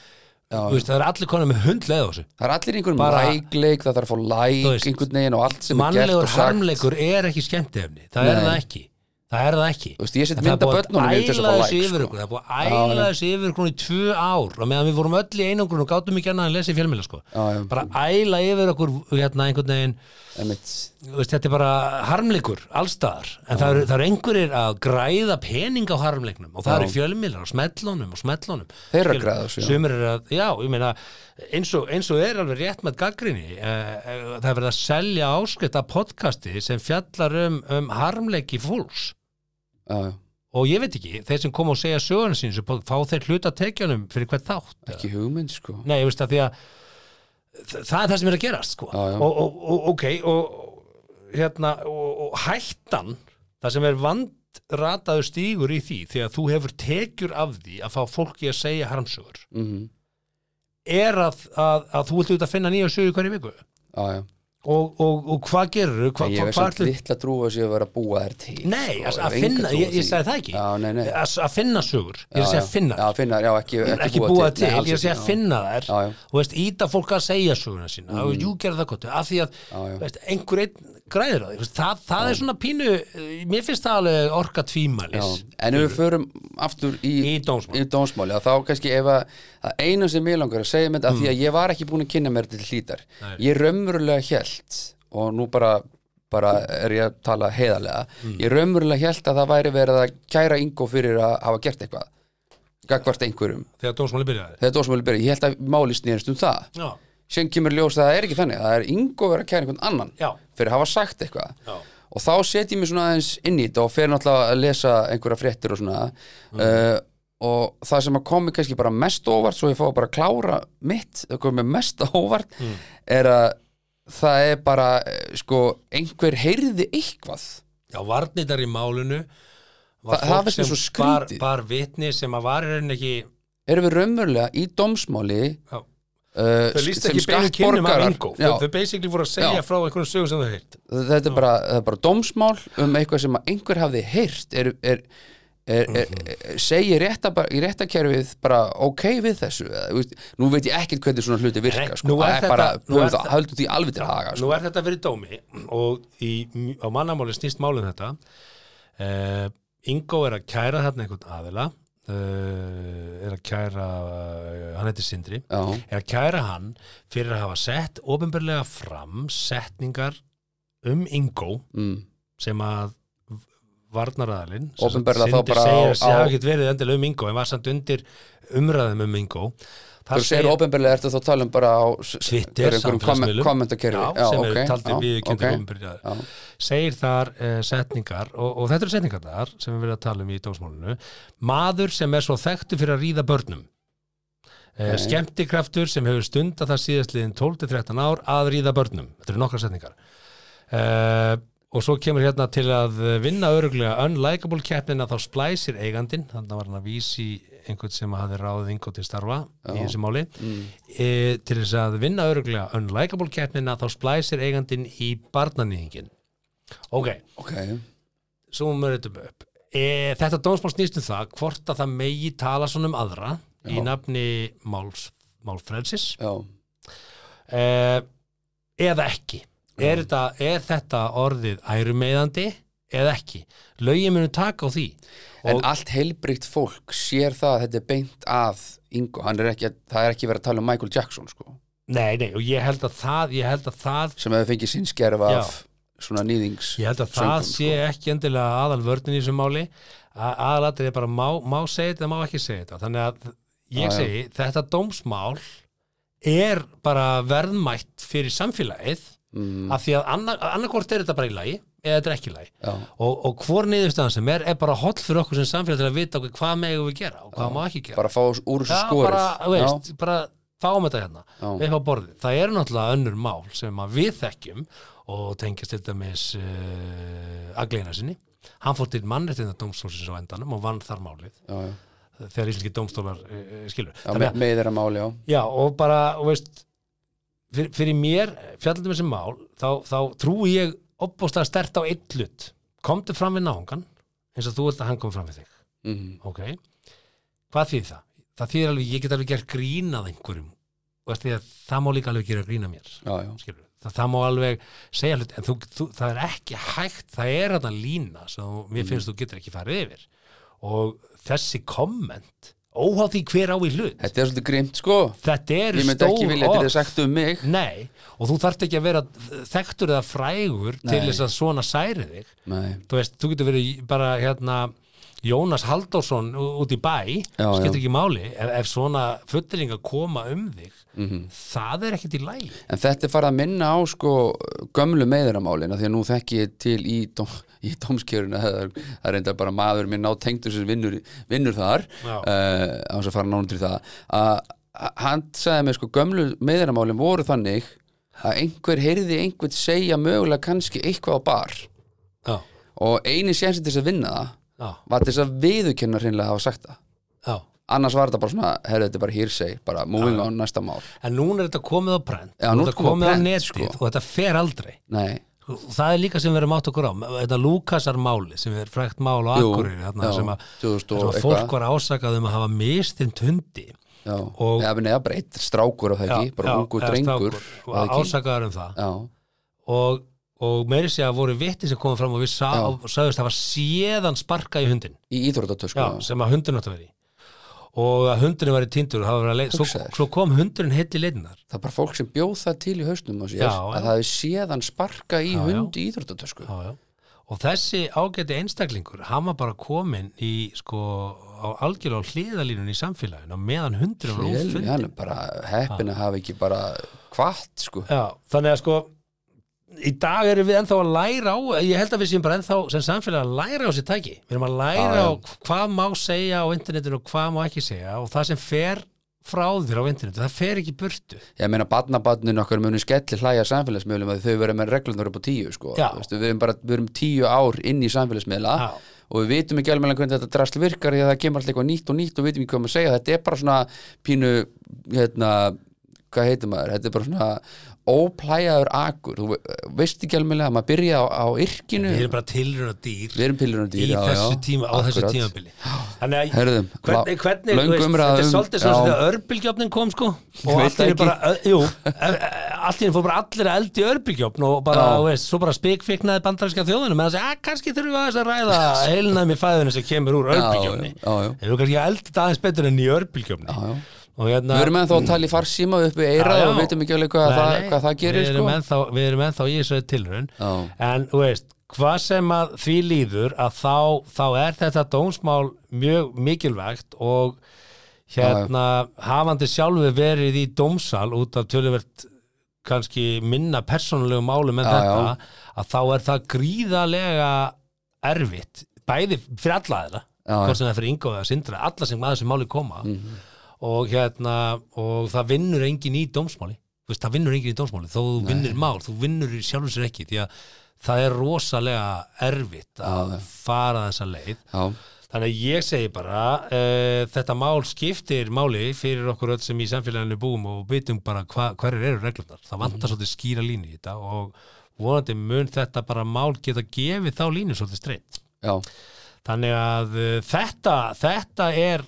veist, það er allir konar með hundleið á þessu það er allir einhverjum Bara- lækleik, það þarf að fá Þú læk veist, einhvern veginn og allt sem er gert mannlegur og sagt harmleikur er ekki skemmtefni það er Nei. það ekki það er það ekki Þú veist, ég set En það er mynd af búið börnunum yfir til þess að æla fá þessu like, yfir sko. okkur, það er búið að æla þessu yfir okkur í tvö ár og meðan við vorum öll í einangrun og gátum ekki annað en lesa í fjölmjöla sko. Já, já. bara æla yfir okkur hérna einhvern veginn Einmitt. þú veist, þetta er bara harmleikur allstaðar, en það eru, það eru einhverjir að græða pening á harmleiknum og það eru fjölmiðlar á smellunum og smellunum Þeir eru að Skil- græða þessu, já. sumir eru að, já, ég meina eins og, eins og er alveg rétt með gaggrinni uh, það er verið að selja áskrift af podcasti sem fjallar um, um harmleiki fólks Já, já. og ég veit ekki, þeir sem kom og segja sögurinn sín sem fá þeir hluta tekjunum fyrir hvert þátt eða? ekki hugmynd sko Nei, ég veist að því að þa- það er það sem er að gerast sko. Já, já. Og, og, og ok og, hérna, og, og hættan það sem er vandrataður stígur í því því að þú hefur tekjur af því að fá fólki að segja harmsögur mm er að, að, að þú ert út að finna nýja sögur hverju viku já, já. og, og, og hvað gerur hva, ég hva, veist hva að litla trúa sér að vera að búa þær til Nei, sko, að, að hef enga trú finna, á ég, ég því. sagði það ekki já, nei, nei. Að, að finna sögur, ég er að Já, segja já. að finna já, finnar, já, ekki, ekki, ekki búa til, nei, alls ég er að segja að ekki, já. finna þær Já, já. og veist, íta fólk að segja söguna sína mm. og jú gerði það gott, af því að já. veist, einhver einn græður á því, veist, það, það er svona pínu eh, mér finnst það alveg orka Já, tvímælis en ef við förum aftur í, Í dómsmál. í dómsmál, já, þá kannski ef að, að eina sem ég langar að segja með þetta af því að ég var ekki búin að kynna mér þetta til hlítar Mm. Nei. ég raunverulega hélt og nú bara, bara er ég að tala heiðarlega, Mm. ég raunverulega hélt að það væri verið að kæra Ingo fyrir að hafa gert eitthvað gagvart einhverjum, þegar dómsmáli byrjaði þegar dómsmáli byrja ég held að máli snýrist um það já, sem kemur í ljós að það er ekki þannig það er Ingo verið að kæra einhvern annan Já. fyrir að hafa sagt eitthvað Já. og þá set ég mig svona aðeins inn í þetta og fer náttúrulega að lesa einhverja fréttir og svona Mhm. uh, og það sem að komi kannski bara mest á óvart svo ég fá bara að klára mitt það komi mest á óvart Mhm. er að það er bara eh, sko einhver heyrði eitthvað já varnitar í málinu Þa- var það fólk finnst mér sem svo var, skrítið. var vitni sem að var í rauninni ekki erum við raunverulega í dómsmáli já, uh, þau líst sem ekki beinu kynnum af skattborgarar- Ingo Já. þau, þau basically voru að segja Já. frá einhverjum sögum sem þau heilt þetta er bara, það er bara dómsmál um eitthvað sem að einhver hafði heyrt er, er, er, er, Mhm. er segi rétta, bara- í réttakerfið bara ok við þessu eða, þú veist, nú veit ég ekkert hvernig svona hluti Nei, virka sko. nú er það er þetta- bara, nú höfum er það, þetta- höldum því alveg til haga Nú sko. er þetta verið dómi og í, á mannamáli snýst málum þetta uh, Ingo er að kæra þarna einhvern aðila uh, er að kæra uh, hann heitir Sindri Já, er að kæra hann fyrir að hafa sett ofinbörlega fram setningar um Ingo mm, sem að varnaræðalinn Opinberlega þá bara segir á- að það á- hafa ekkert verið endilega um Ingo en var samt undir umræðum um Ingo þú segir ofinbjörlega ertu þá að tala um bara á s- Twitter, einhverjum samfélagsmiðlum. komment- kommentakerfi Já, Já, sem ok, eru já, taldir við ok. kynntagumbrið Já. segir þar uh, setningar og, og þetta eru setningar þar sem við verðum að tala um í dómsmálinu maður sem er svo þekktu fyrir að ríða börnum uh, Nei. skemmtikraftur sem hefur stundað það síðastliðin 12-13 ár að ríða börnum þetta eru nokkra setningar uh, og svo kemur hérna til að vinna öruglega unlikable keppnina þá splæsir eigandin, þannig var hann að vísi einhvern sem hafði ráðið yngo til starfa í þessu máli mm. e, til þess að vinna öruglega unlikable keppnina þá splæsir eigandin í barnanýðingin ok, Ok, svo má maður reytum upp e, þetta dómsmál snýst um það hvort að það megi tala svona um aðra Já. í nafni máls, málfrelsis já, e, eða ekki er þetta, er þetta orðið ærumeiðandi eða ekki lögin munu taka á því en Og- allt heilbrygt fólk sér það að þetta er beint að Ingo, hann er ekki, að- það er ekki verið að tala um Michael Jackson sko, nei, nei, og ég held að það ég held að það, sem hefur fengið sinn skerfa Já. af svona nýðings ég held að það sé sko. ekki endilega aðal vörnin í þessu máli aðalatrið er bara má, má segja þetta eða má ekki segja þetta þannig að Já, ég já. segi þetta dómsmál er bara verðmætt fyrir samfélagið mm, af því að annar, annarkvort er þetta bara í lagi eða þetta er ekki í lagi já, og, og hvor niðurstaðan sem er, er bara holl fyrir okkur sem samfélag til að vita okkur hvað megum við gera og hvað má ekki gera bara fá úr þessu skorið bara, þú veist, bara fáum þetta hérna já, já, upp á borðið, það eru náttúrulega önnur mál sem að við þekkjum og tengjast til dæmis uh, agleina sinni, hann fór til mannréttinda dómstólsins á endanum og vann þar málið já, já. þegar íslenski dómstólar uh, skilur, Já, me, með þeirra máli, já Já, og bara, og veist fyrir, fyrir mér, fjallandi með þessi mál þá, þá trúi ég opbúslega stert á einn hlut komdu fram við náungan eins og þú vilt að hann kom fram við þig mm, ok, hvað þýð það? það þýðir alveg, ég get alveg gert grín að einhverjum og veist því að það má líka alveg gera grín að mér já, já, skilur, það, það má alveg segja hlut, en þú, þú, það er ekki hægt það er þetta lína sem þú- mér Mm. finnst þú getur ekki farið yfir og þessi komment óhá því hver á í hlut þetta er svolítið grimt, sko þetta eru ég myndi stór ekki vilja að þetta er orð sagt um mig Nei, og þú þarft ekki að vera þekktur eða frægur til Nei. þess að svona særi þig nei, þú veist, þú getur verið bara hérna Jónas Halldórsson ú- út í bæ Já, já. skiptir ekki máli ef, ef svona fulleringa koma um þig mhm það er ekkit í lægi En þetta er farið að minna á sko gömlu meðuramálin af því að nú þekki ég til í, dóm, í dómskjöruna það er- það er reynda bara maður minn á tengdur sem vinnur, vinnur þar Já. uh, á þess að fara nánum til það að að hann sagði mér sko gömlu meðuramálin voru þannig að einhver heyrði einhvern segja mögulega kannski eitthvað á bar Já, og eini sénsinn til þess að vinna það já, var til þess að viðurkenna hreinlega að hafa sagt það já annars var þetta bara svona, herrðu þetta er bara hýrseg bara moving on næsta mál En núna er þetta komið á prent Já, og nú er þetta þetta komið á prent, netið sko. og þetta fer aldrei Nei, og það er líka sem við erum átt okkur á þetta Lúkasarmáli sem er frækt mál á Jú, Akureyri þarna já, sem að, 2000 og sem að eitthvað. fólk var ásakað um að hafa mistint hundi Já, Og- eða, neða, bara eitt strákur á það ekki, bara ungur eða drengur strákur, var það ekki? ásakaður um það Já, og, og meiri sé að voru vitti sem komum fram og við sá, Já. og sagðist að hafa séðan sparka í hundin í íþróttatösku já, sem að hundin átt að vera í og að hundurinn var í tindur og það var að leið, svo, Hugsaðu þér. svo kom hundurinn heill í leitinnar Það er bara fólk sem bjóð það til í hausnum á sér Já, já. að það hefði séðan sparka í Já, já. hund í íþróttatösku já, já. og þessi ágæti einstaklingur hann var bara komin í sko á algjörlega á hliðalínun í samfélaginu á meðan hundurinn var Vel, ófundin hann er bara heppin að hafa ekki bara kvart, sko Já, þannig að sko í dag erum við ennþá að læra á ég held að við séum bara ennþá sem samfélag að læra á sér tæki, við erum að læra Já, já. á hvað má segja á internetinu og hvað má ekki segja og það sem fer frá þér á internetinu, það fer ekki í burtu Ég meina, barnabarnin okkar muni skelli hlæja samfélagsmiðlum að þau verið með reglunar upp á tíu, sko Já. Þú Veistu, Við erum bara, við erum tíu ár inn í samfélagsmiðla Já. og við vitum ekki alveg hvernig þetta drasl virkar því að það kemur alltaf eitthvað nýtt og nýtt og við vitum ekki hvað maður að segja þetta er bara svona pínu hérna, hvað heitir maður þetta er bara svona óplæjaður akur, þú ve- veist ekki alveg að maður byrja á, á yrkinu við erum bara tilruna dýr Við erum pillurinn í dýr, já, þessu já, tíma, á þessu akkurat. tímabili þannig að Herðum, hvernig, hvernig löng þú veist, umræða þetta er um- svolítið svo sem já. þegar örbylgjöfnin kom sko Ég og veit allt er ekki. bara, ö- jú ö- ö- allt er fór bara allir að eldi örbylgjöfn og bara, Já. þú veist, svo bara spikfiknaði bandarinska þjóðunum en það segja, að kannski þurfum við aðeins að ræða heilnaðum í fæðunum sem kemur úr örbylgjöfni já, já, já. erum við kannski að eldi þetta aðeins betur enn í örbylgjöfni Já, já. og hérna Við erum ennþá að tala í farsíma upp við eirað og veitum ekki alveg hvað, Nei, það, nei, hvað það gerir við sko. erum, ennþá, við erum ennþá í þessu tilraun Já. en þú veist, hvað sem að því líður að þá, þá er þetta dómsmál mjög mikilvægt og hérna hafandi sjálfu verið í dómsal út af töluvert kannski minna persónulegu málum en Já, þetta að þá er það gríðalega erfitt bæði fyrir alla þeirra Já, já. hvort sem það er fyrir Ingo eða Sindra alla sem að þessu máli koma Mhm. og hérna og það vinnur engin í dómsmáli Þú veist, það vinnur engin í dómsmáli þó þú vinnur mál, þú vinnur í sjálfum sér ekki því að það er rosalega erfitt að fara þessa leið Já, Þannig að ég segi bara uh, þetta mál skiptir máli fyrir okkur öll Mhm. sem í samfélaginu búum og vitum bara hva, hverjir eru reglurnar. Það vantar svolítið skýra línu í þetta og vonandi mun þetta bara mál geta gefið þá línu svolítið streitt já, þannig að uh, þetta, þetta er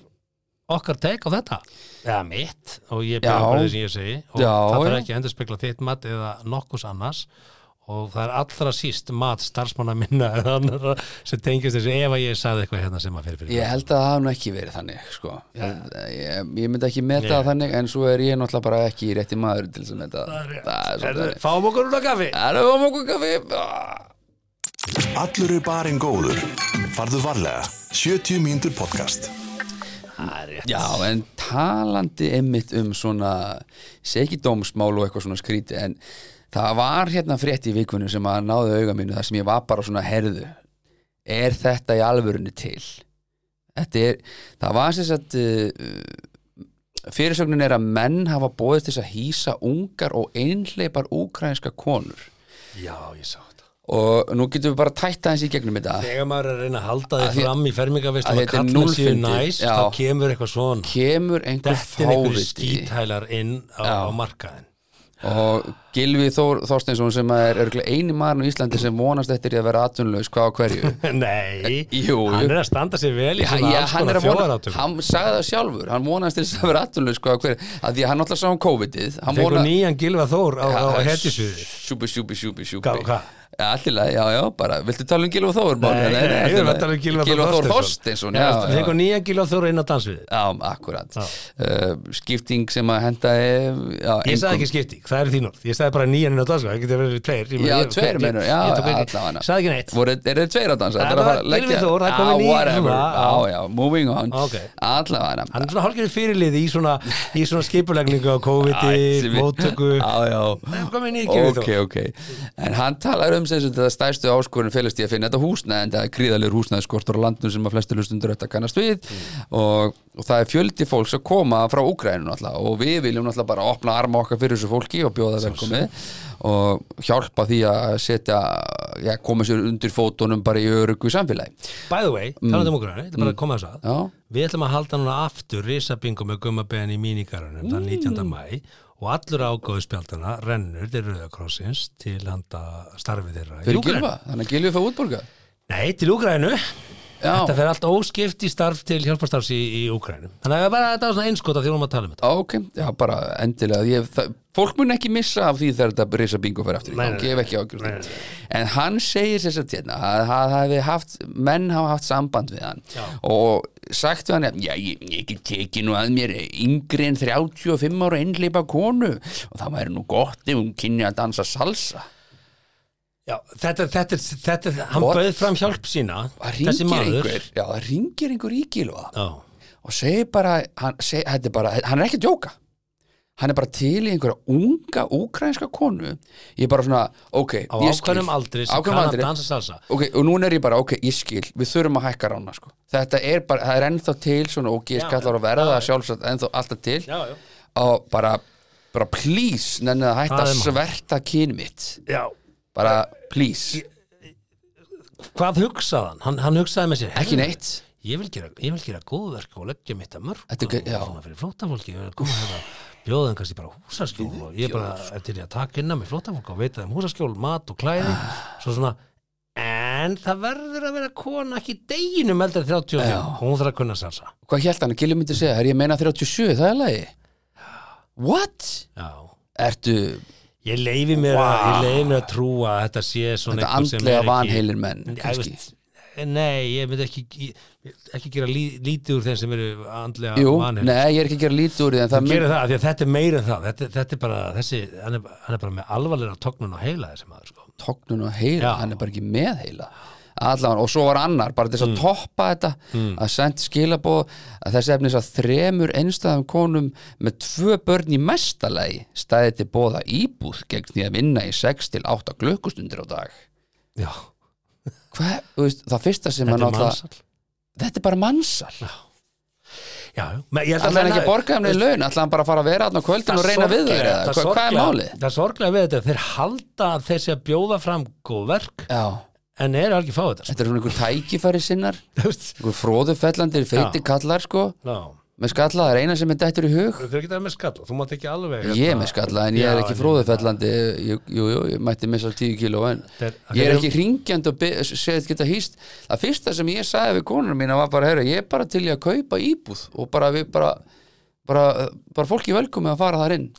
okkar teik á þetta eða mitt og ég byrja Já. bara því sem ég segi og Já, það þarf já. ekki að endurspegla þitt mat eða nokkus annars og það er allra síst mat starfsmanna minna eða annara sem tengist þessu ef að ég sagði eitthvað hérna sem að fyrir fyrir ég held að það hafði nú ekki verið þannig sko. ég, ég, ég myndi ekki meta Nei. það þannig en svo er ég náttúrulega bara ekki rétti maður til þess að meta það það er Herðu, svolítið Fáum okkur úr að kaffi það er um okkur kaffi Ah. Allur er barinn góður. Farðu varlega. 70 mínútur podcast. Það er rétt. Já, en talandi einmitt um svona segidómsmál og eitthvað svona skríti en það var hérna frétt í vikunum sem að náði auga mínu þar sem ég var bara svona herðu er þetta í alvörunni til? Þetta er, það var sem sagt uh, fyrirsögnin er að menn hafa bóðið til þess að hýsa ungar og einhleipar úkrænska konur Já, ég sá þetta og nú getum við bara tætt aðeins í gegnum þetta Þegar maður er að reyna að halda þig Að því- fram í fermingaveist að og þetta er kalla sér núllfyndið, næs já. þá kemur eitthvað svona kemur einhver Dettin einhver fáviti skíthælar inn Já. á, á markaðin og Gilvi Þór Þorsteinsson sem að er örgulega eini maðurinn á Íslandi sem vonast eftir í að vera atvinnulaus hvað á hverju Nei, Jú, hann jú. er að standa sér vel í Já, svona já, alls hann, er konar að vona, þjóðarátum hann sagði það sjálfur hann vonast til þess að vera atvinnulaus hvað á hverju að því að hann alltaf sá um COVID-ið hann Þegar vona- nýjan Gilva Þór á, á Ja, hettisviði sjúpi, sjúpi, sjúpi, sjúpi Hvað- hvað? allilega, já, já, bara, viltu tala um Gilvi Þór Már? Nei, nei, ég er að tala um Gylfa Þór Gylfa Þór Þorsteinsson. Þorsteinsson já, já. Þegar nýjan Gilva Þór inn á dansviði Já, akkurat Já. uh, skipting sem að henda Ég sagði ekki skipting, það er þín orð Ég sagði bara nýjan inn á dansviði, það getur verið tveir Ég meina, Já, ég- tveir ég- mennur, já, ég tók ekki- allavega. Sagði ekki neitt voru, er þeir tveir að dansa? Það Þetta er að var fara að leggja- Gylfi Þór, það komið Já, nýr whatever. svona, já. Já, já, moving on Ok. Allavega Hann er svona hálfgerði fyrirliði í svona, í svona skipulegningu á COVID-i, móttöku Já, já Það er komið nýr Gilvi Þór Ok, ok En hann talar um sem sem þetta stærstu áskorin félast í að finna þetta húsnæði en það er gríðalegur húsnæðiskortur á landum sem að flestu hlustundur þetta kannast við Mm. og, og það er fjöldi fólks að koma frá Úkræninu náttúrulega og við viljum náttúrulega bara opna arma okkar fyrir þessu fólki og bjóða velkomið og hjálpa því að setja, já, koma sér undir fótunum bara í örugu samfélagi By the way, Mm. talandi um okkur hann, ég ætla bara að koma þess að Já. Við ætlum að halda núna aftur risabingo með gummabeðan í mínigarunum þann 19. mæ og allur ágóðu spjaldana rennur til Rauðakrossins til handa starfi þeirra í Fyrir Úkraínu. Gylfa, þannig að Gylfi fá útborga Nei, til Úgrænu Já, Þetta fer allt óskipt í starf til hjálparstarfs í, í Úgrænu Þannig að bara þetta var svona einskota því við erum að tala um þetta ok, já bara endilega ég, það, Fólk mun ekki missa af því þegar þetta risa bingo fyrir aftur í Nei, gang, nei, ég hef ekki ágjörð því. En hann segir sér satt hérna að það hafi haft, menn hafa haft samband við hann Já. og sagt við hann, já ég, ég get tekið nú að mér yngri en 35 ára einleipa konu og það væri nú gott ef hún kynni að dansa salsa Já, þetta, þetta, þetta, þetta hann What? bauð fram hjálp sína Það þessi ringir maður einhver, já það ringir einhver í gilva Já, og segir bara, hann, seg, þetta er bara hann er ekki að djóka hann er bara til í einhverja unga úkrænska konu ég er bara svona, ok á ég skil. ákvæmum aldri sem Ákveðnum kann að aldri. dansa salsa ok, og núna er ég bara, ok, ég skil við þurfum að hækka rána, sko þetta er bara, það er ennþá til svona og ég Já, skallar að verða það sjálfsagt ennþá alltaf til Já, já og bara, bara please nennið að hætta Það að er mál. sverta kyn mitt Já, bara, please, hvað hugsaði hann? hann? Hann hugsaði með sér ekki "Heyrðu, neitt Ég vil gera, ég vil gera góðverk og leggja mitt að mörg Þetta er ge- já. svona fyrir flótafólki og koma hérna bjóða þeim kannski bara húsaskjól og ég bara er til í að taka innan með flótafólk og veita þeim húsaskjól, mat og klæði svo svona, en það verður að vera kona ekki í deginum eldar 35 Já. og hún þarf að kunna salsa hvað hélt hann að Gilli myndi segja, er ég að meina 37, það er lagi what? Já. Ertu Ég leifi mér, að, ég leifi mér að trúa að þetta sé svona Þetta einhver sem er andlega ekki- vanheilir menn Ég kannski. veist, Nei, ég myndi ekki, ég- ekki gera lí, lítið úr þeim sem eru andlega Jú, vanheilir nei, ég er ekki að gera lítið úr því en það Hann mynd, gerir það, af því að þetta er meira en það þetta, þetta er bara, þessi, hann er, hann er bara með alvarlega tognun á heila þessi maður sko. tognun og heila, Já. hann er bara ekki með heila allan, og svo var annar, bara til Mm. þess að toppa þetta, að senda skilabóð að þessi efnis að þremur einstæðum konum með tvö börn í mestalagi stæði til bóða íbúð gegn því að vinna í 6 til 8 klukkustundir á dag Já, Hvað, þú veist, það fyrsta sem þetta hann er alltaf mannsall þetta er bara mannsal, Já, men ég held alltaf hann menn ekki að hafi- borga um neinn laun, alltaf hann bara að fara að vera þarna á kvöldin Það og reyna við sorglega- þeir, það hvað, hvað er sorglega- málið? Það sorglega við þetta, þeir halda að þeir sé að bjóða fram góð verk Já, en eru alveg fá þetta sko. þetta er svona einhver tækifæri sinnar Þú veist, einhver fróðufellandi feiti Já. kallar sko Já, með skalla, það er eina sem er dættur í hug Þau eru ekki það með skalla, þú mátt ekki alveg hérna- ég er með skalla, en ég er Já, ekki en- fróðufellandi jú, jú, jú, ég mætti missa 10 kíló en Þetta er- ég er ekki ringjand og be- segið geta hýst, það fyrsta sem ég sagði við konuna mína var bara, herra, ég er bara til í að kaupa íbúð og bara við bara bara, bara fólki velkomi að fara þar inn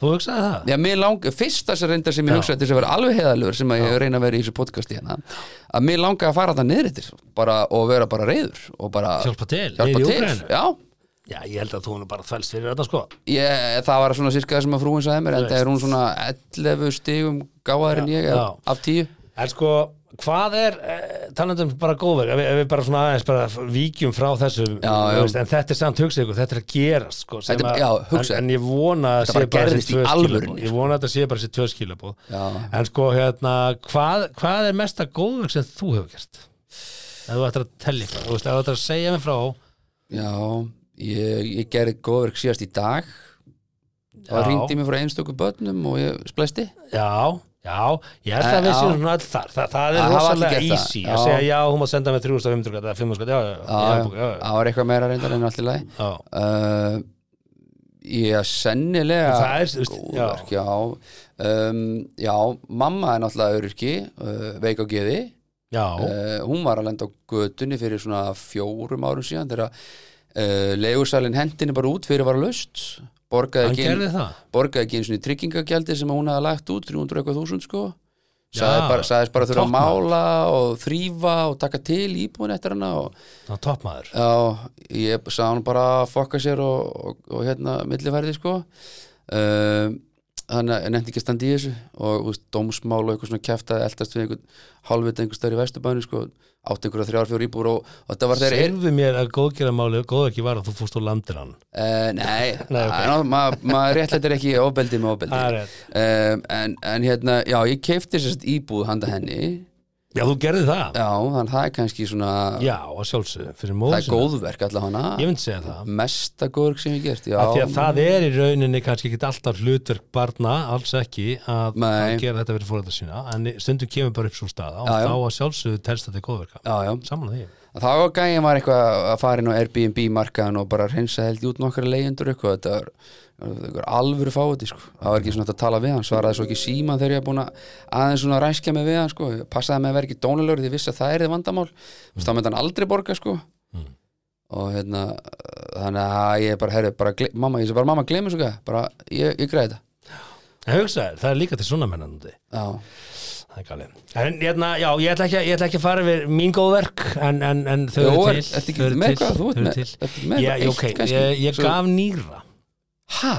Þú hugsaði það? Já, mér langar, fyrsta sem reyndar sem ég hugsaði til þess að vera alveg heðalur sem að ég reyna að vera í þessu podcasti hérna að mér langar að fara það niður eftir bara, og vera bara reyður og bara Hjálpa til, hjálpa niður í til. Úkraínu. Já, Já, ég held að þú hann bara þvælst fyrir þetta sko ég, það var svona sirka það sem að frúin sagði mér en það er hún svona 11 stigum gáðar en ég Já, já. já. af 10 En sko, hvað er eh, talandum bara góðverk, ef, við- ef við bara svona aðeins bara f- víkjum frá þessu Já, þú já. en þetta er samt hugsað ykkur, þetta er að gerast sko, sem Þetta er- að- já, hugsið. en, en ég vona að Þetta sé bara bara gerðist í þessi tvö alvörunni, sko. skilabóð Ég vona að þetta sé bara þessi tvö skilabóð Já. En sko, hérna, hvað, hvað er mesta góðverk sem þú hefur gert? Ef þú ættir að tella ykkur, þú veist, ef þú ættir að segja mig frá Já, ég, ég gerði góðverk síðast í dag það Já. ringdi mér frá einstöku börnum og ég splesti Já, já, ég held Eh, að við já. séum svona all þar, það, það Það er hafa rosalega allir gert það, easy að já. segja já, hún má senda með 3500 eða 500, já, já, Já, já, já, já, já, já, það var eitthvað meira reyndar en allt í lagi já. uh, ég sennilega Það er, þú veist, góðverk, já um, já, mamma er náttúrulega öryrki uh, veik á geði Já, uh, hún var að lenda á götunni fyrir svona fjórum árum síðan þegar uh, leigursalinn hendinni bara út fyrir var löst borgaði hann ekki inn- gerði það borgaði ekki einu svona tryggingagjaldi sem hún hafði lagt út 300 eitthvað þúsund sko Já. sagðist bara, sagðist bara þurfa að Toppmaður. mála og þrýfa og taka til íbúin eftir hana og Það var toppmaður Já, ég sagði hann bara að fokka sér og, og, og hérna millifærði sko um, þannig að ég nefndi ekki að standa í þessu og úst, dómsmál og eitthvað svona kæftaði eldast við einhvern hálfvita einhver stær í vesturbæðinu sko átti einhverja þrjár fjór íbúr og, og þetta var þeir er, Segðu mér að góðgera máli góð ekki var að þú fórst úr landir hann uh, Nei, Nei, ok. Ah, ná, maður ma réttlættir ekki ofbeldi með ofbeldi Það er rétt. um, en, en hérna, já, ég keifti sérst íbúð handa henni Já, þú gerði það Já, þannig það er kannski svona Já, að sjálfsögðu, fyrir það móðu er góðverk allavega hana Ég myndi segja það mesta góðverk sem ég hef gert já. Af því að það er í rauninni kannski ekki alltaf hlutverk barna, alls ekki að, að Nei. gera þetta fyrir fóræðar sína en stundum kemur bara upp svo staða og Já, já. þá að sjálfsögðu telst þetta í góðverka Já, já, Saman að því Það var gæðin var eitthvað að fara inn á Airbnb markaðan og bara hreinsa held í út nokkra leyendur eitthvað, þetta var, þetta var alvöru fáið, sko. það var ekki svona hægt að tala við hann, svaraði svo ekki síma þegar ég var búin að aðeins svona ræskja mig við hann, sko. Ég passaði mig að vera ekki dónulegur því ég vissi að það er þið vandamál, mm. þá myndi hann aldrei borga sko. Mm. og hérna, þannig að ég bara, herri, bara, gle- mamma, ég sé bara, mamma, gleymi svo hvað, bara, ég, ég græði þetta. En hugsaði, það er líka til svona mennandi Já, Það er galið. En hérna, já, ég ætla ekki, að- ég ætla ekki að fara yfir mín góðverk en, en, en þau Jó, eru er- til ertu ekki þau eru með til, eitthvað? Þú ert þau eru með- til. ertu með Já, eitthvað? ok, Eitt kannski? ég, ég Svo- gaf nýra ha,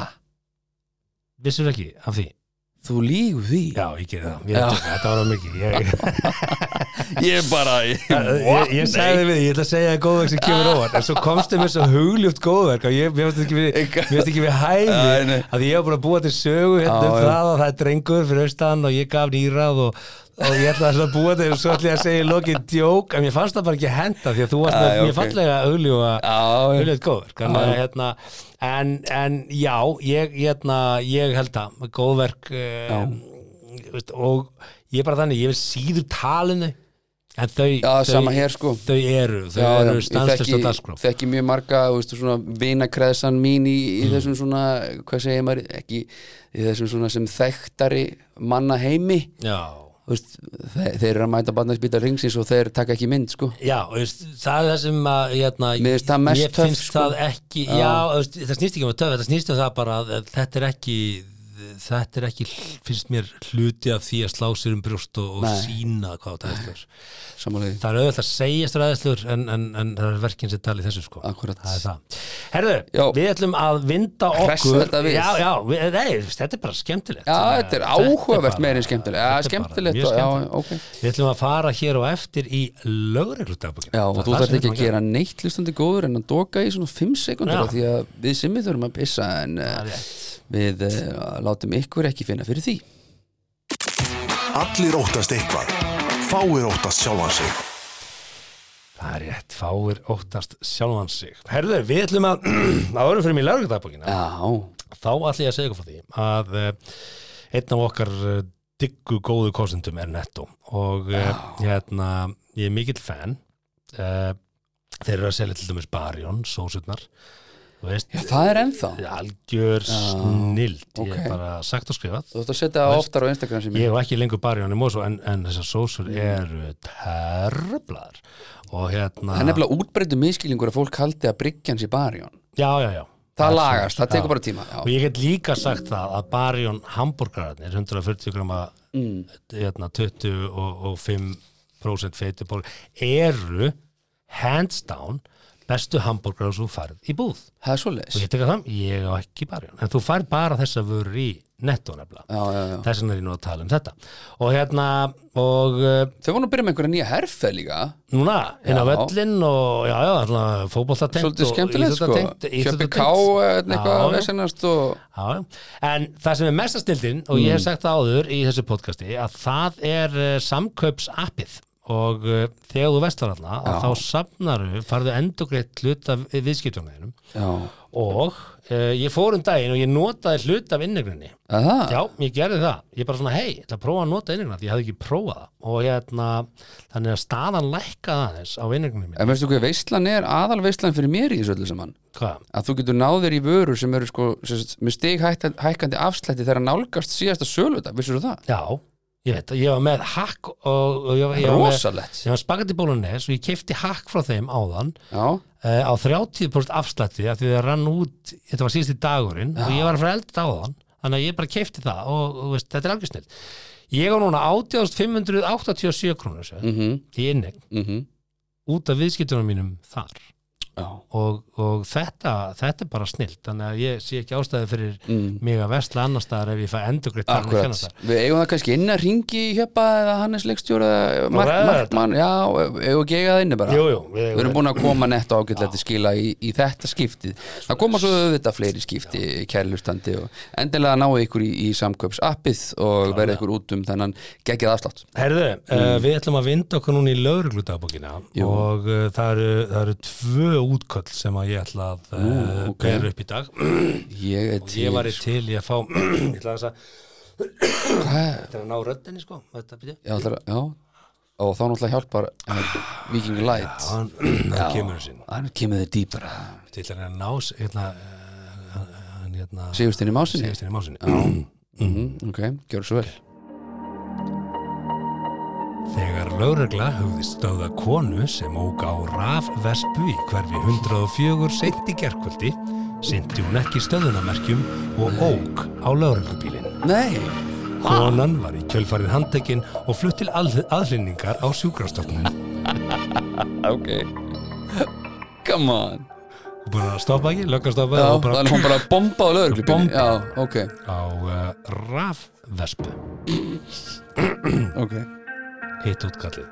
Vissur ekki af því? þú lígu því? Já, ég gerði það, ég, þetta var á mikið Ég, Ég bara, ég, ég, ég sagði við, því, ég ætla að segja að góðverk sem kemur óvart en svo komstu með svo hugljúft góðverk og ég, ég veist ekki við, Ég- ég veist ekki við Æ, hæði nei. að ég var búin að búa til sögu hérna Já, um já. það og það er drengur fyrir austan og ég gaf nýrað og, og ég ætla að búa til og svo ætla ég að segja í lokið djók en ég fannst það bara ekki henda því að þú varst Æ, með mjög ok. fallega hugljúa Já, já. hugljúft góðverk en, hérna, en, en já, ég, hérna, ég held að góðverk eh, veist, og ég er bara þannig, ég vil síður talinu en þau, Já, þau sama hér, sko. þau eru, þau Já, já, eru ég stanslust og þekki- dasgróf þekki mjög marga, þú veist, svona vinakreðsan mín í, í þessum svona hvað segir maður, ekki í þessum svona sem þekktari manna heimi já, þú veist, þeir, þeir eru að mæta barnarspýta ringsins og þeir taka ekki mynd, sko já og veist, það er það sem að hérna, Mér finnst það mest ég töff, finnst sko. það ekki já, já veist, það snýst ekki um að töf, það snýst um það bara að að þetta er ekki þetta er ekki, finnst mér hluti af því að slá sér um brjóst og, og Nei. sína hvað það er slur samanlega, það er auðvitað að segja stræðislur en, en, en það er verkinn sem talið þessu sko Akkúrat. það er það Herðu, Já. við ætlum að vinda okkur Hressa þetta við. Já, já, við, nei, þetta er bara skemmtilegt Já, Þannig að þetta er áhugavert bara- meira en skemmtilegt. Já, þetta er skemmtilegt bara mjög og- já, skemmtilegt. ok. Við ætlum að fara hér og eftir í lögreglutagbúkin já, og þú þarf ekki að gera neitt hlustandi góður en að doka í svona 5 Já. sekundur því að við simmi þurfum að pissa en er uh, rétt. við uh, látum ykkur ekki finna fyrir því Allir óttast eitthvað. Fáir óttast sjálfan sig. Það er rétt, fáir óttast sjálfan sig Herðu, við ætlum að að orðum fyrir mig í lögreglutagbúkina Já, þá ætla ég að segja ykkur frá því að uh, einn af okkar uh, diggu góðu eh, kostendum er Netto og uh, hérna, ég er mikill fan uh, þeir eru að selja til dæmis barjón, sósutnar þú veist, það er ennþá algjör snild ég ok. er bara sagt og skrifað Þú ætti að setja það oftar á Instagram sem ég ég hef ekki lengur barjón í mósu en, en þessar sósur Mm. eru terflar og hérna Það er nefnilega útbreyttu miskilingur að fólk haldi að bryggjan sé barjón já, já, já Það lagast, það Já. tekur bara tíma Og já. ég get líka sagt það að barjón hambúrgararnir, 140 grama Mm. hérna, 20 og, og 5% feituból eru hands down bestu hambúrgarar sem þú færð í búð. Það er svoleiðis Og ég tek að það, ég á ekki barjón. En þú færð bara þess að vörur í netto nefnilega. já, já, já. Þess vegna er ég nú að tala um þetta. Og hérna, og uh, Þau voru nú að byrja með einhverja nýja herfæð líka núna, inn á Já. völlinn og já, já, svona fótboltatengt Svolítið skemmtilegt sko Kjöpi K hérna eitthvað að vesennast og Já, já. en það sem er mestastildin og ég hef sagt það áður í þessu podcasti að það er uh, samkaupsappið og uh, þegar þú vestar allna að þá safnaru, farðu endugreitt hlut af viðskiptjónaðinum Já, og uh, ég fór um daginn og ég notaði hlut af innegrinni að það Já, ég gerði það. Ég bara svona, hei, ætla að prófa að nota innegna því ég hafði ekki prófað það. Og hérna, þannig að staðan lækkaði aðeins á innegna minni. En veistu hvað veistlan er, aðal veistlan fyrir mér í þessu öllu saman Hvað? að þú getur náð þér í vörur sem eru sko sem sagt, með stig hækkandi afslætti þegar nálgast síðasta söludag, vissur þú það? Já, ég veit, ég var með hakk og, og ég, var- ég var með Rosalegt sem var spagetti bólunis og ég kefti hakk frá þeim áðan Já, uh, á 30% afslætti af því það rann út, þetta var síðusti dagurinn og ég var að fara elda áðan þannig að ég bara kefti það og, og veist, þetta er algjör snill ég á núna 8587 krónur sem, mhm, mhm í innegn út af viðskiptunum mínum þar Já, og, og þetta, þetta er bara snill þannig að ég sé ekki ástæði fyrir mhm mig að vesla annar staðar ef ég fæ endugreitt þar en að kenna Akkurat, þar. við eigum það kannski inn að ringi í hjöpa eða Hannes leikstjóra eða Mark, ræða þetta. Markmann, já, eigum ekki eiga það inni bara Jú, jú, við, Við erum búin að koma netta ágætlega til skila í, í þetta skiptið. Það koma svo auðvitað fleiri skipti kærlustandi og endilega náu ykkur í, í samköps appið og verða ykkur út um þennan geggjað afslátt. Herðu, uh, Mm. við ætlum að vinda okkur núna í lögregludagbókina og uh, það, eru, það eru tvö útköll sem að ég ætla að uh, ok. bera upp í dag Ég er og til, ég var í til í að fá ég ætla að þess hvað? að þetta er að ná röddinni sko þetta byrja Já, það, já, og þá náttúrulega hjálpar uh, Viking Light. hann hann kemur sinn Þannig kemur þið dýpra. til að reyna að ná hérna, eh, hann hérna Sigurstinn í másinni? síðast henni másinni Mhm. Mm, ok, gjör svo vel. Þegar lögregla höfði stöða konu sem óg á rafvespu í hverfi 104 seint í gerkvöldi sinti hún ekki stöðunamerkjum og óg á lögreglubílinn Nei, Konan var í kjölfarið handtekinn og flutt til aðlinningar á sjúkrastofnun. ok. Come on. Og bara stoppa ekki, löggan stoppa Já, og bara þannig hún bara bomba á lögreglubíli. Bomba. Já, ok, á uh, rafvespu. ok. Hitt útkallið.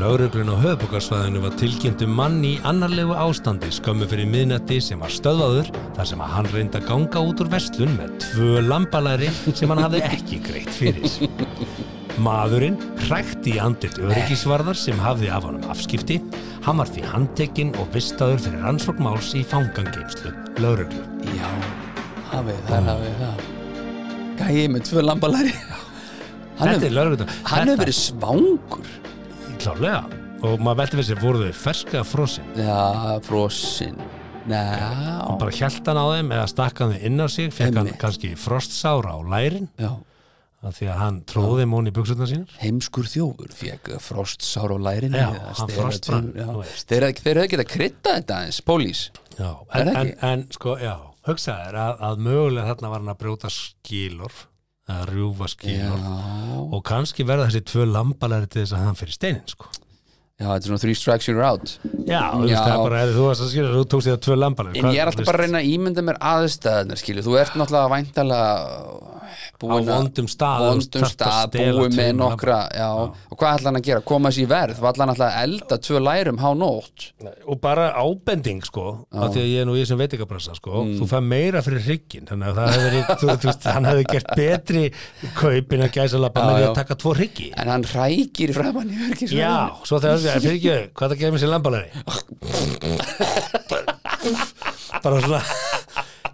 Lögreglun á höfbúkarsvæðinu var tilkynnt um mann í annarlegu ástandi skömmu fyrir miðnætti sem var stöðaður þar sem að hann reyndi að ganga út úr verslun með tvö lambalæri sem hann hafði ekki greitt fyrir. Maðurinn hrækti í andlit öryggisvarðar sem hafði af honum afskipti, hann var því handtekinn og vistaður fyrir rannsókn máls í fangangeimslu lögreglu. Já, hafið, það er hafið það Gæi með tvö lambalari Hann Þetta er hefur lögreglu. hef Þetta- verið svangur Klálega. Og maður velti fyrir sér voru þau ferska frosin. Já, frosinn Næ, bara hjælt hann á þeim eða stakk hann þau inn á sig fekk hann Einmitt. kannski frostsára á lærin já af því að hann tróði þeim hún í buksutna sínar Heimskur þjófur fekk frostsár á lærinu Já, eða hann stera- frostbrann, já. þú veist. Þeir hefðu þeir hefðu getað kryddað þetta eins, pólís Er já, en, það en, ekki? en sko, já hugsaði þér að, að mögulega þarna var hann að brjóta skilorf að rjúfa skilorf Já, og kannski verða þessi tvö lambalæri til þess að hann fyrir steinin sko þetta er svona three strikes you're out já, þú veist Já. það er bara, ef þú varst að skilja þú tókst þetta tvö lambalæri En ég er alltaf bara að reyna að ímynda mér aðstæðunar skilju, þú ert náttúrulega væntalega búin Á að- vondum stað, þú vondum þarft að stað, stela búin með tveimur nokkra já. og hvað ætla hann að gera, koma þessi í verð var hann ætla að elda tvö lærum há nótt og bara ábending sko af því að ég er nú í þessum veitingabransa sko Mm. þú fæ meira fyrir hrygginn þannig að það hefði, þú, þú veist, hann hefði gert betri kaup en að gæsa lappa Já, með því já. að taka tvo hryggi en hann rækir framan í örgisverðinu. já, svo þegar það fyrir ekki hvað það gefur sér lambalari bara svona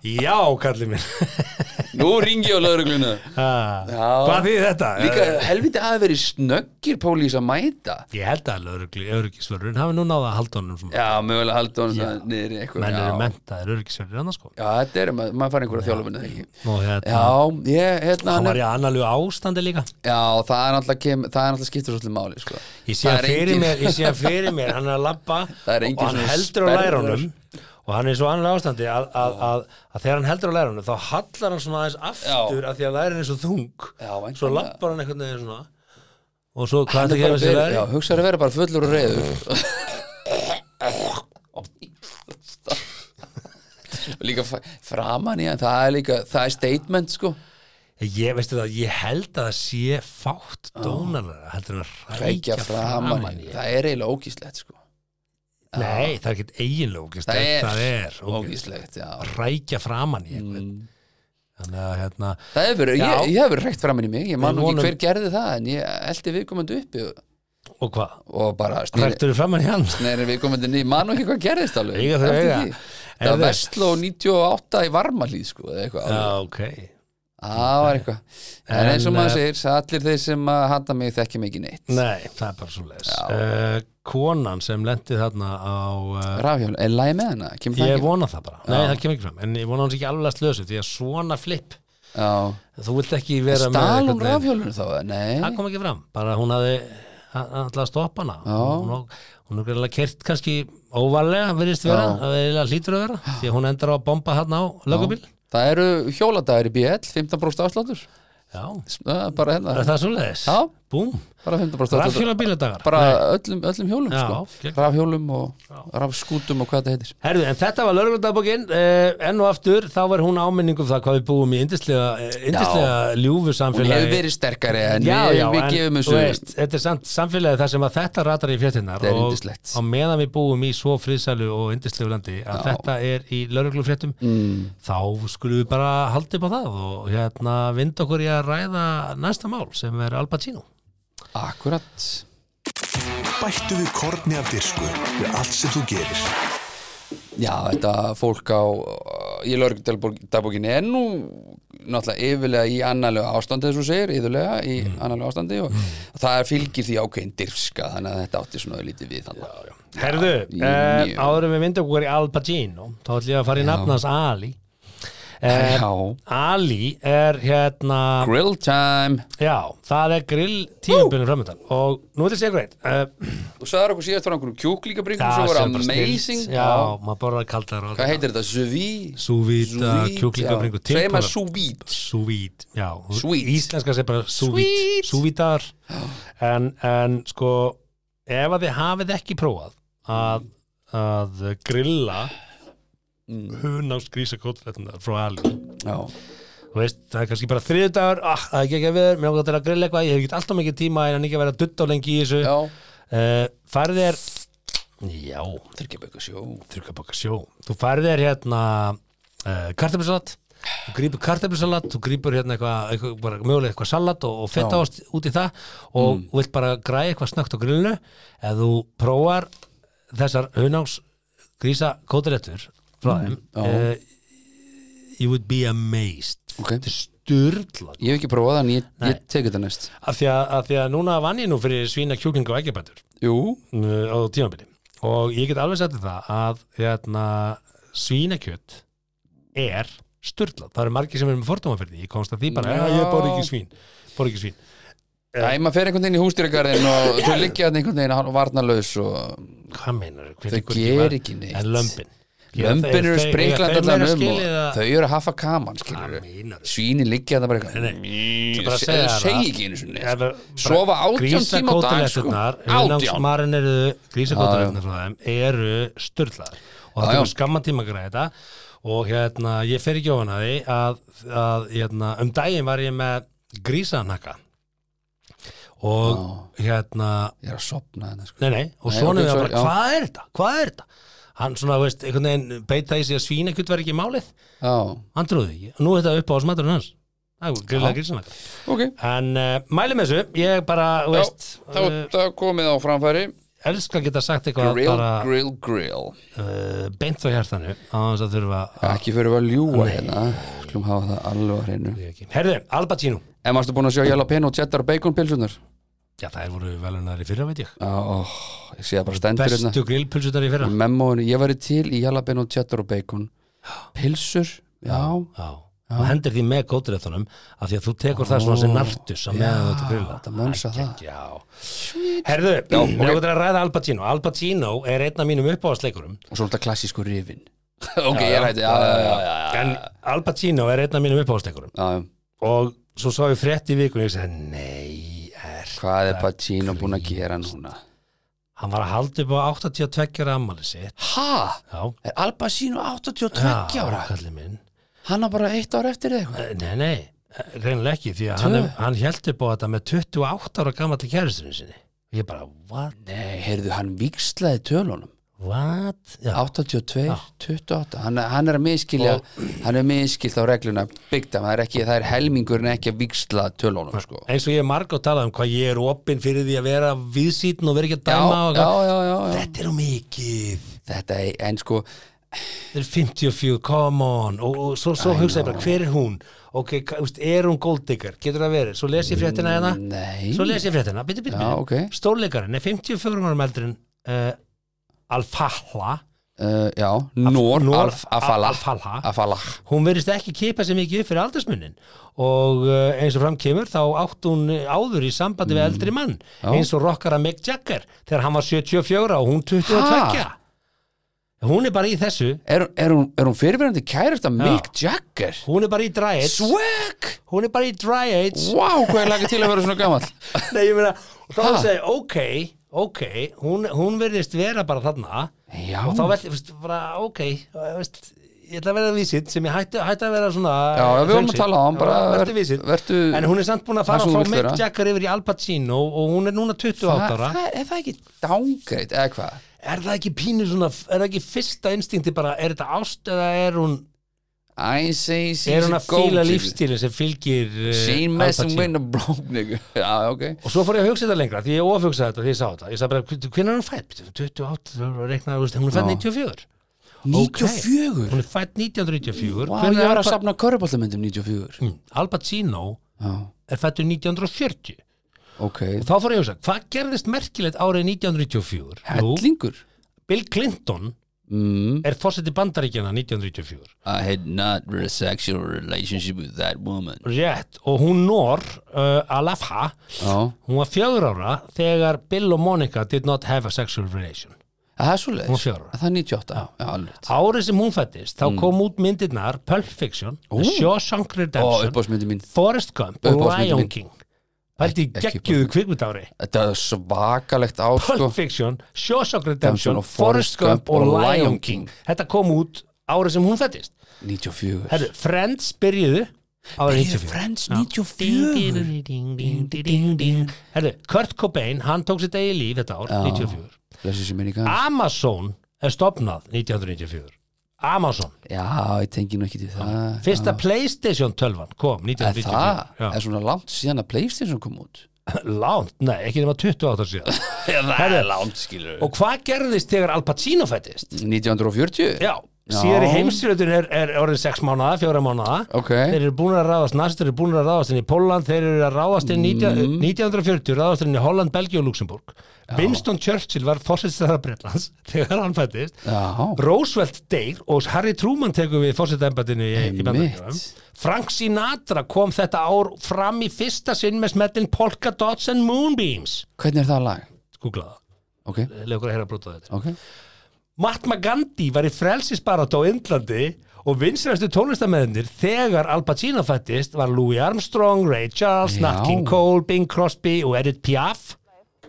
já, kallið minn Nú ringi ég á laurugluna Ha, Já. Hvað þýðir þetta? Líka helviti að verið snöggir pólís að mæta Ég held að lögreglu, öryggisvörurinn hafi nú náða að halda honum sem Já, mögulega halda hann það niður í eitthvað menn eru já. mentaðir öryggisvörurinn annars sko já, þetta er, maður, maður fær einhverja þjálfinu ekki og hérna, Já, ég, hérna hann hann var er, í annarlegu ástandi líka Já, það er alltaf kem, það er alltaf skiptur svolítið máli, sko Ég sé Það að er fyrir engin- mér, ég sé að fyrir mér, hann er að labba Það er og engin hann svona heldur á sperrur. lærunum og hann er svo annar ástandi að, að, að, að þegar hann heldur á lærunum þá hallar hann svona aðeins aftur að því að lærin er svo þung Já, svo væntanlega. lappar hann einhvern veginn svona og svo hvað Hann er er það bara að gefa sér verið- Já, læri? hugsaður að vera bara fullur og reyður Líka fa- framan í hann, það er líka það er statement, sko Ég veistu það, ég held að það sé fátt dónalara heldur hann að Rækja framan í hann, það er eiginlega ógíslegt, sko Nei, það er ekkert eiginlega ógæst Það er, það er ógeðslegt. ógíslegt, já Rækja framan í einhvern Mm. Þannig að hérna Það hefur, Já. ég, ég hefur reykt framan í mig, ég man Við nú vonum- ekki hver gerði það en ég eldi viðkomandi uppi og, Og hvað? og bara sneri, Ræktur framan í hann? sneri viðkomandi niður, ég man nú ekki hvað gerðist alveg Eiga fyrir Eftir eiga. því. Það var Heyrðu. Vestló 98 í Varmalíð sko, eða eitthvað alveg. Já, ok Það var eitthvað En eins og En, maður eh, segir, allir þeir sem að hata mig þekki mig ekki neitt Nei, það er bara svo leiðis Konan sem lendi þarna á uh, Rafhjálf, er lagi með hana? Kemur það Ég ekki? vona það bara, nei það kemur ekki fram En ég vona hans ekki alveg slösu því að svona flip Já. Þú vilt ekki vera Stal hún með einhvern veginn- rafhjálfinu þá? eða? Það Nei kom ekki fram, bara hún hafði alltaf að stoppa hana Já. Hún, á- hún er greiðlega kert kannski óvarlega virðist vera, Já. það er eiginlega hlýtur að vera því að hún endar á að bomba hann á lögubíl Það eru hjóladagur í BL, 15% afsláttur Já, Það er Bara er hérna, það svo leiðis? Já. Búm, bara 15% afsláttur rafhjóla bíladagar bara öllum, öllum hjólum Já, sko. gegn. rafhjólum og rafskútum og hvað þetta heitir Herðu, en þetta var lörgundabókin eh, enn og aftur, þá var hún áminning um það hvað við búum í yndislega, eh, yndislega ljúfu hún samfélagi hefur verið sterkari en við, við gefum þú þessu veist, þetta er samt samfélagi þar sem að þetta ratar í fréttinnar Þetta er og yndislegt. á meðan við búum í svo friðsælu og yndislegu landi að Já. þetta er í lörglufréttum mm. þá skulum við bara halda upp á það og hérna vinda okkur í að ræða næsta mál sem er Al Pacino akkurat Bættu við korni af dirsku við allt sem þú gerir. já þetta fólk á uh, í lörgdagbókinni er nú náttúrulega yfirlega í annarlega ástandi þess að segir, yfirlega í mm. annarlega ástandi og það fylgir því ákveðin dirfska þannig að þetta átti svona lítið við þannig já, já. Herðu, Já, eh, mjög. áður en við vinda okkur í Al Pacino þá ætlum ég að fara í nafnans Ali eh, Ali er hérna grill time Já, það er grill tíumbunum framöndan og nú ætlum ég að segja greið uh, þú sagðar okkur síðast frá einhverjum kjúklingabringum það sem voru sem bara snilt. amazing Já, maður borðar kaldar og hvað heitir þetta? Suvi? Súvít, kjúklingabringu Segir maður suvít Súvít, já Sweet. Íslenska segir bara súvít Sweet. Súvítar en, en sko, ef að þið hafið ekki prófað að, að grilla Mm. hunás grísakóttrættunar frá Ali Já, þú veist, það er kannski bara þriðdagur ah, það er ekki ekki að viður, mér ákvæmt til að grilla eitthvað ég hef ekki alltaf mikið tíma en hann ekki að vera dutt á lengi í þessu já uh, farið er já, Þryggja bökur sjó þurrka baka sjó þú farið er hérna uh, kartablusalat þú grýpur kartablusalat þú grýpur hérna eitthvað, eitthvað bara mögulega eitthvað salat og, og feta ást út í það og mm. vilt bara græja eitthvað snögt á grillinu ef þú prófar þessar hunangs grísa kótalettur frá þeim Mm, já. eh, you would be amazed Ok. þetta er styrla Ég hef ekki prófað hann, ég, Nei. ég tek þetta næst af því að, af því að núna vann ég nú fyrir svína kjúklinga og ekkjabætur Jú, uh, á tímabili og ég get alveg sagt þér það að hérna, svínakjöt er styrlað, það eru margir sem eru með fordóma fyrir því, ég komst að því bara Já. "Já, ég borði ekki svín, borði ekki svín Æ, maður fer einhvern veginn í hústýragarðin og þau liggja hann einhvern veginn hálf- varnarlaus og hvað meinar Þau gera ekki neitt. en lömbin lömbin eru spriklandi allan um og og þau eru að hafa kaman, skilur hvað meinar Svínin liggja það bara eitthvað Nei, Mjö, bara að Þau segja það. segja ekki einu sinni Ja, bara- Sofa átján tíma á dag sko. Grísakótaletturnar, Átján hundangsmarin eru grísakótaletturnar frá þeim eru styrlaðar og það Já, já. er skamma tíma að græða þetta og hérna, ég fer ekki ofan að því að, að hérna, um daginn var ég með grísanakka og hérna Ég er að sopna þetta sko nei, nei, og Nei, ok, svona okay, sorry, bara, já. hvað er þetta, hvað er þetta hann svona, veist, einhvern veginn beita í sig að svínakjöt var ekki málið, Já, hann trúði ekki og nú er þetta upp á smaturinn hans það er grillega grísanakka ok En uh, mælum þessu, ég bara, þú Já, veist, þá uh, þá komið á framfæri elska að geta sagt eitthvað Grill, bara grill, grill uh, beint á hjartanu á þess að þurfa að Ekki fyrir að ljúa hérna Skulum hafa það alveg að hreinu ekki. Herðu, Al Pacino En varstu búin að sjá jalapeno, cheddar og bacon pilsunar? Já, það er voru velunar í Mm. fyrra, veit ég Ó, ég sé það bara stendur hérna Bestu grillpulsunar í fyrra Í Memóinu, ég væri til í jalapeno, cheddar og bacon Pilsur, já, Já, og hendir því með kótréttunum af því að þú tekur það svona sem nartus að meðan þú ert að grilla þetta mönsa það Já, herðu, já, okay. ég að ræða Al Pacino Al Pacino er einn af mínum uppáðasleikurum Og svo þetta klassísku rifin Ok, ég rætti, já, já, já, já, já. en Al Pacino er einn af mínum uppáðasleikurum já, já. og svo sá ég frétt í vikunni og ég segi, nei, er Hvað er Pacino búin að gera núna? hann var að halda upp á 82 ára ammali sitt Ha? já, Er Al Pacino 82 ára? kallið minn Hann á bara eitt ár eftir eða eitthvað Eh, nei, nei, eh, reynilega ekki því að hann, Tvö? er- hann held upp á þetta með 28 ára gamall í kæristurinn sinni ég bara, what, Nei, heyrðu, hann vikslaði tölunum what já, 82, 28 hann, hann er að miskilja hann er miskilt á regluna byggta það er, ekki, það er helmingurinn ekki að viksla tölunum sko. eins og ég er marg að tala um hvað ég er opinn fyrir því að vera viðsýtin og vera ekki að já, dæma og já, hvað já, já, já. þetta er um mikið, Þetta, er- en sko þetta er 54 come on, og, og svo, svo hugsa ég bara hver er hún, ok, ka- þú veist, er hún golddigger, getur það verið, svo les ég fréttina hérna, nei, svo les ég fréttina bitur, bitur, já, bitur, ok uh, stórleikarinn er 54 árum eldri en uh, Alfahla Uh, já, Nór, Noor Alf, Afala Al-Afala. Afala hún verðist ekki kipa sér mikið upp fyrir aldersmunnin og uh, eins og fram kemur þá átt hún eh, áður í sambandi við eldri mann eins og rockara Mick Jagger þegar hann var 74 og hún 22 Ha? hún er bara í þessu er, er, hún, er hún fyrirverandi kærist að Mick Jagger? hún er bara í dry age Swag! hún er bara í dry age Vá, hvað er lagið til að vera svona gamall Nei, ég meina, og þá Ha? segi, ég, ok, ok hún, hún verðist vera bara þarna Já, og þá veldi, veist, bara, ok veist, ég ætla að vera vísitt sem ég hætti, hætti að um vera svona Já, já, við vorum að frelsi. tala á hann, Já, bara vertu ver- vísitt. vertu- en hún er samt búin að fara Það sem þú frá vilt Mick vera. Jagger yfir í Al Pacino og hún er núna 28 það, ára það, er það ekki dángreitt eða hvað? er það ekki pínu svona, er það ekki fyrsta instinkti bara, er þetta ást eða er hún I say, she's er hún að fíla golden. lífstílinn sem fylgir eh, She Al messing Pacino? with a broke nigga Já, ok og svo fór ég að hugsa þetta lengra því ég ofugsa þetta því ég sá þetta ég sagði bara, hvernig er hún fætt? 28, reiknaði, þú veist, hún er fætt 94 94? hún er fætt 1994 Vá, Hvenær ég var Al að safna körubóltamöndum 94 Mm, Al Pacino Já, er fættur 1940 ok og þá fór ég að hugsa, hvað gerðist merkilegt árið 1994? Jú, Hellingur Bill Clinton mm. er fórseti bandaríkjana 1994 I had not a sexual relationship with that woman Rétt, og hún Nór uh, Alafha, Já, hún var fjögur ára þegar Bill og Monica did not have a sexual relation það er svo Hún var fjögurra. Það er 98, já, já alveg Árið sem hún fættist, þá kom út myndirnar Pulp Fiction, The Shawshank Ó, Redemption uppásmyndi mín Forrest Gump og Uppáhaldsmyndin Lion mín. King Pældi í Ekki- ekki geggjuðu kvikmyndári Þetta er svakalegt ár, sko Pulp Fiction, Shawshank Redemption, Redemption og Forrest Gump og Lion King King. Þetta kom út árið sem hún fættist 94 Herru, Friends byrjuðu árið 94 Friends Ding, ding, ding, ding, ding, ding, ding. Herru, Kurt Cobain, hann tók sitt eigi líf þetta ár, 94 Blessu sér minni Ah. kanns Amazon er stopnað 1994 Amazon, Já, ég tengi nú ekki til það fyrsta Playstation 12 kom Er það? Er 1994 Já. svona langt síðan að Playstation kom út? Langt, nei, ekki nema 28 síðan Það er langt, skilur Og hvað gerðist þegar Al Pacino fættist? 1940? Já, síðar í heimsstyrjöldin er, er orðin 6 mánuða, 4 mánuða Ok. Þeir eru búin að ráðast, næstur eru búin að ráðast inn í Póland, þeir eru að ráðast inn 19, 1940, ráðast inn í Holland, Belgíu og Luxemburg Winston Churchill var fórsetstæðar Bretlands þegar hann fættist Já, Roosevelt deyr og Harry Truman tekur við fórsetæmbatinu í, í bandaríkjum Einmitt. Frank Sinatra kom þetta ár fram í fyrsta sinn með smetlin Polka Dots and Moonbeams hvernig er það lag? Googlaða, Ok, leikur að heyra brot á þetta ok Mahatma Gandhi var í frelsisbarat á Indlandi og vinsræstu tónlistamæðinir þegar Al Pacino fættist var Louis Armstrong, Ray Charles, Já. Nat King Cole, Bing Crosby og Edith Piaf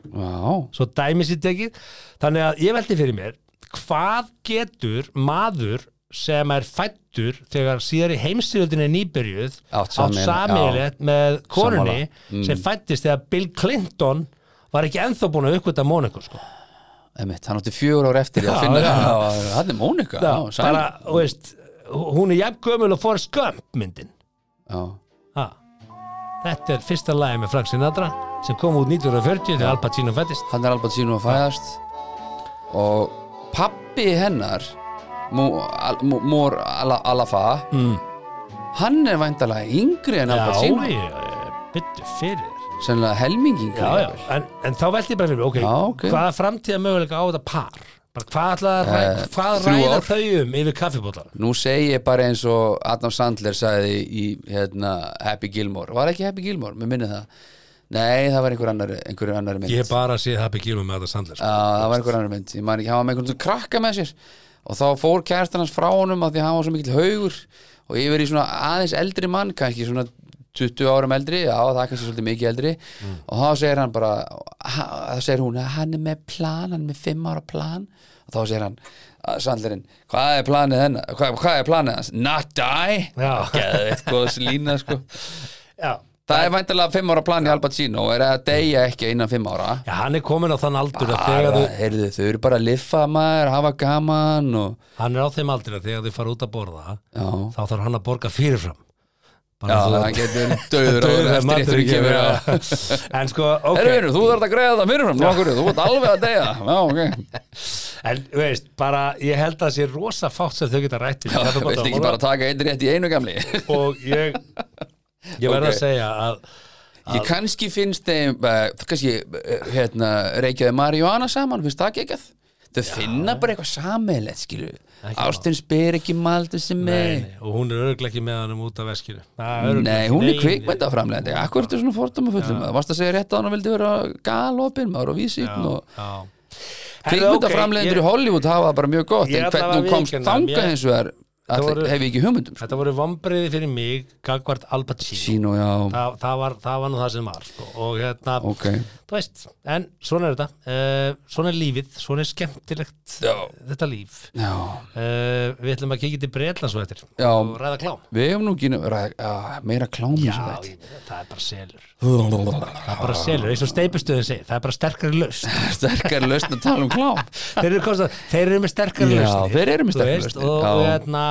Já, svo dæmi sér tekið þannig að ég velti fyrir mér hvað getur maður sem er fættur þegar síðar í heimstyrjöldin er nýbyrjuð Átt átt sameiginlegt, Mm. samilegt með konunni sem fættist þegar Bill Clinton var ekki ennþá búin að uppkvita Monaco sko. emitt, hann átti fjör ára eftir já, Já, finna, já. já, hann er Mónika Já, Já, sæl. bara, þú veist, hún er jafn gömul og Forrest Gump myndin já. ha. Þetta er fyrsta lagi með Frank Sinatra sem kom út 1940 þegar Al Pacino fættist Hann er alveg sínu að fæðast og pappi hennar Mú- Al- Mú- Mór Ala- Alafa Mm. hann er væntalega yngri en Albertino já, já, byttu fyrir þér. sennilega helmingingri já, já. En, en þá veldi ég bara fyrir mig, ok, Já, ok. hvaða framtíða möguleika á þetta par? Bara hvað ætla að ræða, Eh, hvað þrjú ræða ár. þau um yfir kaffibóttan? Nú segi ég bara eins og Adam Sandler sagði í hérna, Happy Gilmore, var ekki Happy Gilmore, mér minni það Nei, það var einhver annar, einhver annar mynd Ég hef bara séð það byggjum með þetta sandlega. Já, það var einhver annar mynd, ég man ekki, hann var með einhvern svona krakka með sér og þá fór kærstan hans frá honum af því að hann var svo mikill haugur og yfir í svona aðeins eldri mann, kannski svona 20 árum eldri, já það er kannski svolítið mikið eldri og þá segir hann bara ha- þá segir hún, hann er með plan hann er með 5 ára plan og þá segir hann, að Sandlerinn hvað er planið hennar, hvað, hvað er planið hans not die, Já. geðveitt góðs lína sko, Já. það er væntalega 5 ára planið Al Pacino, er að deyja ekki innan 5 ára já, hann er komin á þann aldur að þegar bara, þau, heyrðu, þau eru bara að liffa maður, hafa gaman og, hann er á þeim aldur að þegar þau fara út að borða, já, þá þarf hann að borga fyrirfram. já þú- það getur döður Dauður og þegar eftir maturinn eftir kemur já. já. En sko, ok Herru vinur, þú þarf að greiða það fyrirfram, nokkur, þú ert alveg að deyja Já, ok, En þú veist, bara ég held að það sé rosa fátt sem þau geta rætt við. já, Þetta er veist ekki málum. bara að taka einn rétt í einu gamli Og ég Ég Ok. verð að segja að Ég kannski finnst þeim, uh, kannski uh, hérna, reykjaði Marihuana saman, finnst það ekki Þau finna bara eitthvað sameiginlegt, skilu Ástin spyr ekki um maldur sem nei, er nei, og hún er örglega ekki með hann um út af veskinu Nei, hún er kvikmyndaframlegandi Akkur ertu svona fordóma fullum Það varst að segja rétt að hann vildi vera galopin maður og vísýtn og kvikmyndaframlegendur í Hollywood hafa það bara mjög gott Ég en ætla hvernig að hún komst viðurkenna, þangað mér- hins vegar Þetta allir- voru- hef ég ekki hugmyndum sko. Þetta voru vombriði fyrir mig Gagvart Alba Chino Sýn og já, Þa, það, var, það var nú það sem var sko. og hérna, ok þú veist en svona er þetta, uh, svona er lífið svona er skemmtilegt Já. þetta líf Já, uh, Við ætlum að kikið til Breitlands og eftir Já. og ræða klám við hefum nú ekki ræ- já, meira klámi sem Já, þetta ég, það er bara selur Það er bara selur, eins og steipustöðin segir Það er bara sterkari laust Sterkar lausn að tala um klám Þeir eru, komst, að- þeir eru með sterkari Já, lausnir þeir eru með þú sterkari veist, lausnir, Og, já. og, hérna,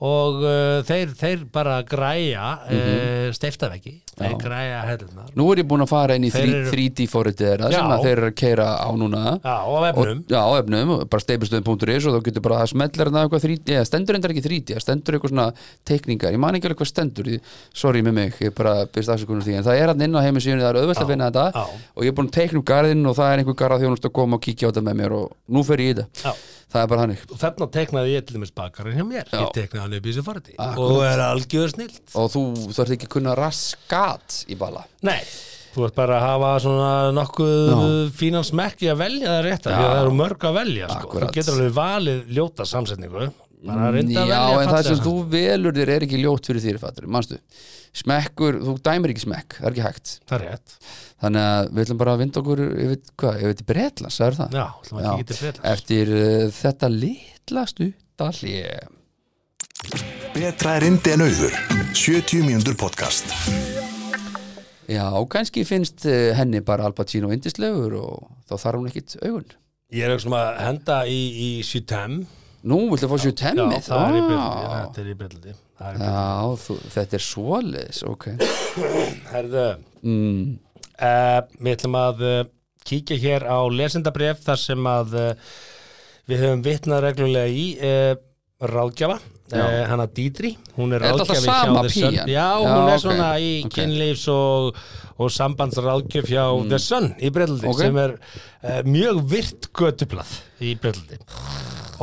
og uh, þeir, þeir bara græja mm Mhm. -hmm. steiftaveggi Þeir græja hellunar Nú er ég búinn að fara inn í Þeir eru- 3D forritið þeirra sem Já. að þeir eru að keira á núna Já, og á og, efnum já, á efnum, bara steipustöðum.is og þá getur bara að smellar það eitthvað 3D eða stendur endar ekki 3D, það stendur eitthvað svona teikningar, ég man ekki alveg hvað stendur ég- sorry með mig, ég bara byrst afsökunum því en það er hann inn á heimisíðunni, það er auðvelt að finna þetta já. og ég er búin að teikna upp garðinn og það er einhver garða þjónust að koma og kíkja á þetta með mér og nú fer ég í þetta, Já. það er bara hannig Og þarna teknaði ég til dæmis bakarinn hjá mér Já. Ég teknaði hann upp í þessu forði Akkurat. Og er algjör snilt og þú þarf ekki að kunna raskat í bala Nei Þú ert bara að hafa svona nokkuð Já. fínan smekk í að velja það rétt því að það eru mörg að velja sko. Þú Akkurat. getur alveg valið ljóta samsetningu bara að Já, reynda að velja en það fallega sem þú velur þér er ekki ljótt fyrir þér fattur, manstu smekkur, þú dæmir ekki smekk, það er ekki hægt Það er rétt Þannig að við ætlum bara að vinda okkur yfir, hvað, yfir til Bretlands, það er það? Já, ætlum að kíkja til Bretlands. Eftir uh, þetta litla stutta hlje Betra er indi en auður. 70 mínútur podcast. Já, kannski finnst uh, henni bara Al Pacino indislegur og þá þarf hún ekkit augun Ég er ekki svona að henda í, í Sjutem Nú, viltu að fá sér Já, temmið? það er í byrlandi Já, Þetta er í byrlandi Það er í Já, þú, þetta er svoleiðis, ok byrlandi Herðu, mm, eh, við ætlum að eh, kíkja hér á lesendabref þar sem að eh, við höfum vitnað reglulega í eh, ráðgjafa Já. eh, hana Dítri, hún er Er þetta ráðgjafi alltaf sama hjá The Sun. pían? Já, Já, hún ok, er svona í ok. kynlífs og, og sambandsráðgjöf hjá The Sun í Breitlandi Ok. sem er eh, mjög virt götublað í Breitlandi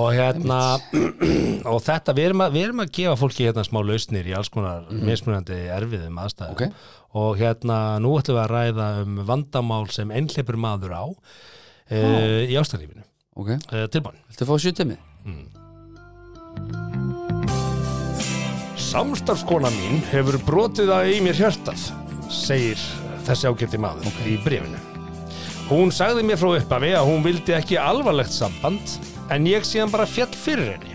og hérna og þetta, við erum, að, við erum að gefa fólki hérna smá lausnir í alls konar mismunandi erfiðum aðstæðum Ok. og hérna nú ætlum við að ræða um vandamál sem einhleipur maður á uh, í ástæðlífinu Ok, uh, tilbúin viltu að fá sér temmið? Samstarfskona mín hefur brotið að í mér hjörtað segir þessi ágætti maður í brefinu Hún sagði mér frá uppafi að hún vildi ekki alvarlegt samband en ég síðan bara fjall fyrir henni.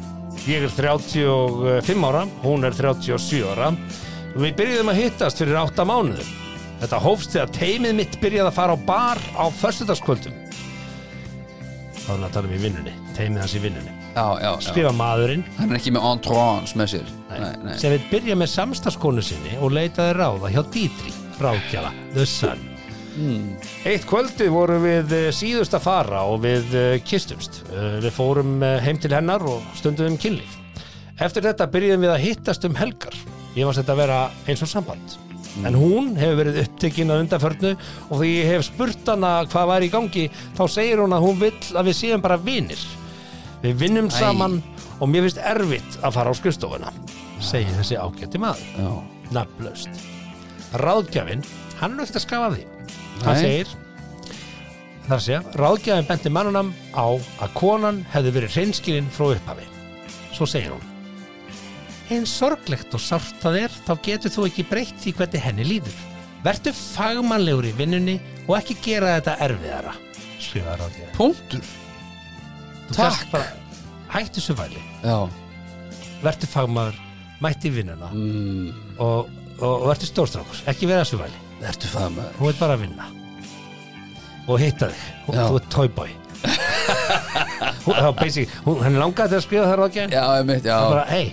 Ég er 35 ára, hún er 37 ára og við byrjuðum að hittast fyrir 8 mánuðum. Þetta hófst þegar teimið mitt byrjaði að fara á bar á föstudagskvöldum. Þá erum við að tala um í vinnunni, teimið hans í vinnunni. Já, já, já Skrifa maðurinn Hann er ekki með entrance með sér Nei, nei sem vil byrja með samstagskonu sinni og leitaði ráða hjá Dítri, ráðgjafa The Sun Eitt kvöldi vorum við eh, síðust að fara og við eh, kistumst. Eh, Við fórum eh, heim til hennar og stunduðum kynlíf. Eftir þetta byrjuðum við að hittast um helgar. Ég varst þetta að vera eins og samband. En hún hefur verið upptekinn að undanförnu og því ég hef spurt hana hvað var í gangi þá segir hún að hún vill að við séum bara vinir. Við vinnum saman og mér finnst erfitt að fara á skrifstofuna, segir þessi ágætti maður Já. nafnlaust ráðgjafinn, hann er ekkert að skafa af því hann Nei. segir þar að segja, ráðgjafinn benti mannunam á að konan hefði verið hreinskilinn frá upphafi svo segir hún eins sorglegt og sárt það er þá getur þú ekki breytt því hvernig henni líður vertu fagmannlegur í vinnunni og ekki gera þetta erfiðara skrifaði ráðgjafinn Punktur Þú Takk. gast bara- hættu svo væli Já vertu fagmaður, mætti í vinnuna mm. og, og, og vertu stórstrákur ekki vera svo væli Ertu það maður? hún veit bara að vinna og hitta þig, hún, Já. þú ert toyboy hún, þá basic, hún, henni langaði til að skrifa þar á ekki Já, ég mitt, já bara, hei,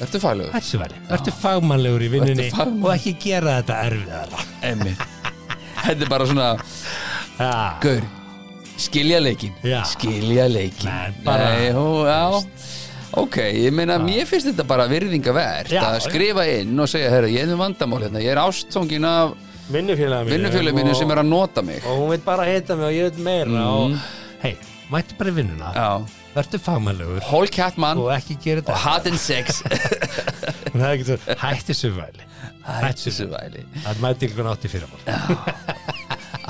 Ertu fælugur? þessu væri, verður fagmannlegur í vinnunni Vertu fagmannlegur. og ekki gera þetta erfiðara Emmi Þetta er bara svona ja. Gaur Skilja leikin Já. Skilja leikin Nei, bara- Nei, ó, já Ok, ég meina, mér finnst þetta bara virðinga verð Já, að já. skrifa inn og segja, herru, ég er með vandamál hérna, ég er ástfóngin af vinnufélagi vinnufjölu mínu sem er að nota mig. og hún veit bara að hitta mig og ég veit meira og hei, mættu bara í vinnuna Já, verður fagmannlegur whole cat man og ekki gera og þetta hot and sex. Hún hefði ekki sagt, hætti þessu væli Hættu þessu væli. að mæti ykkur átti fyrir mál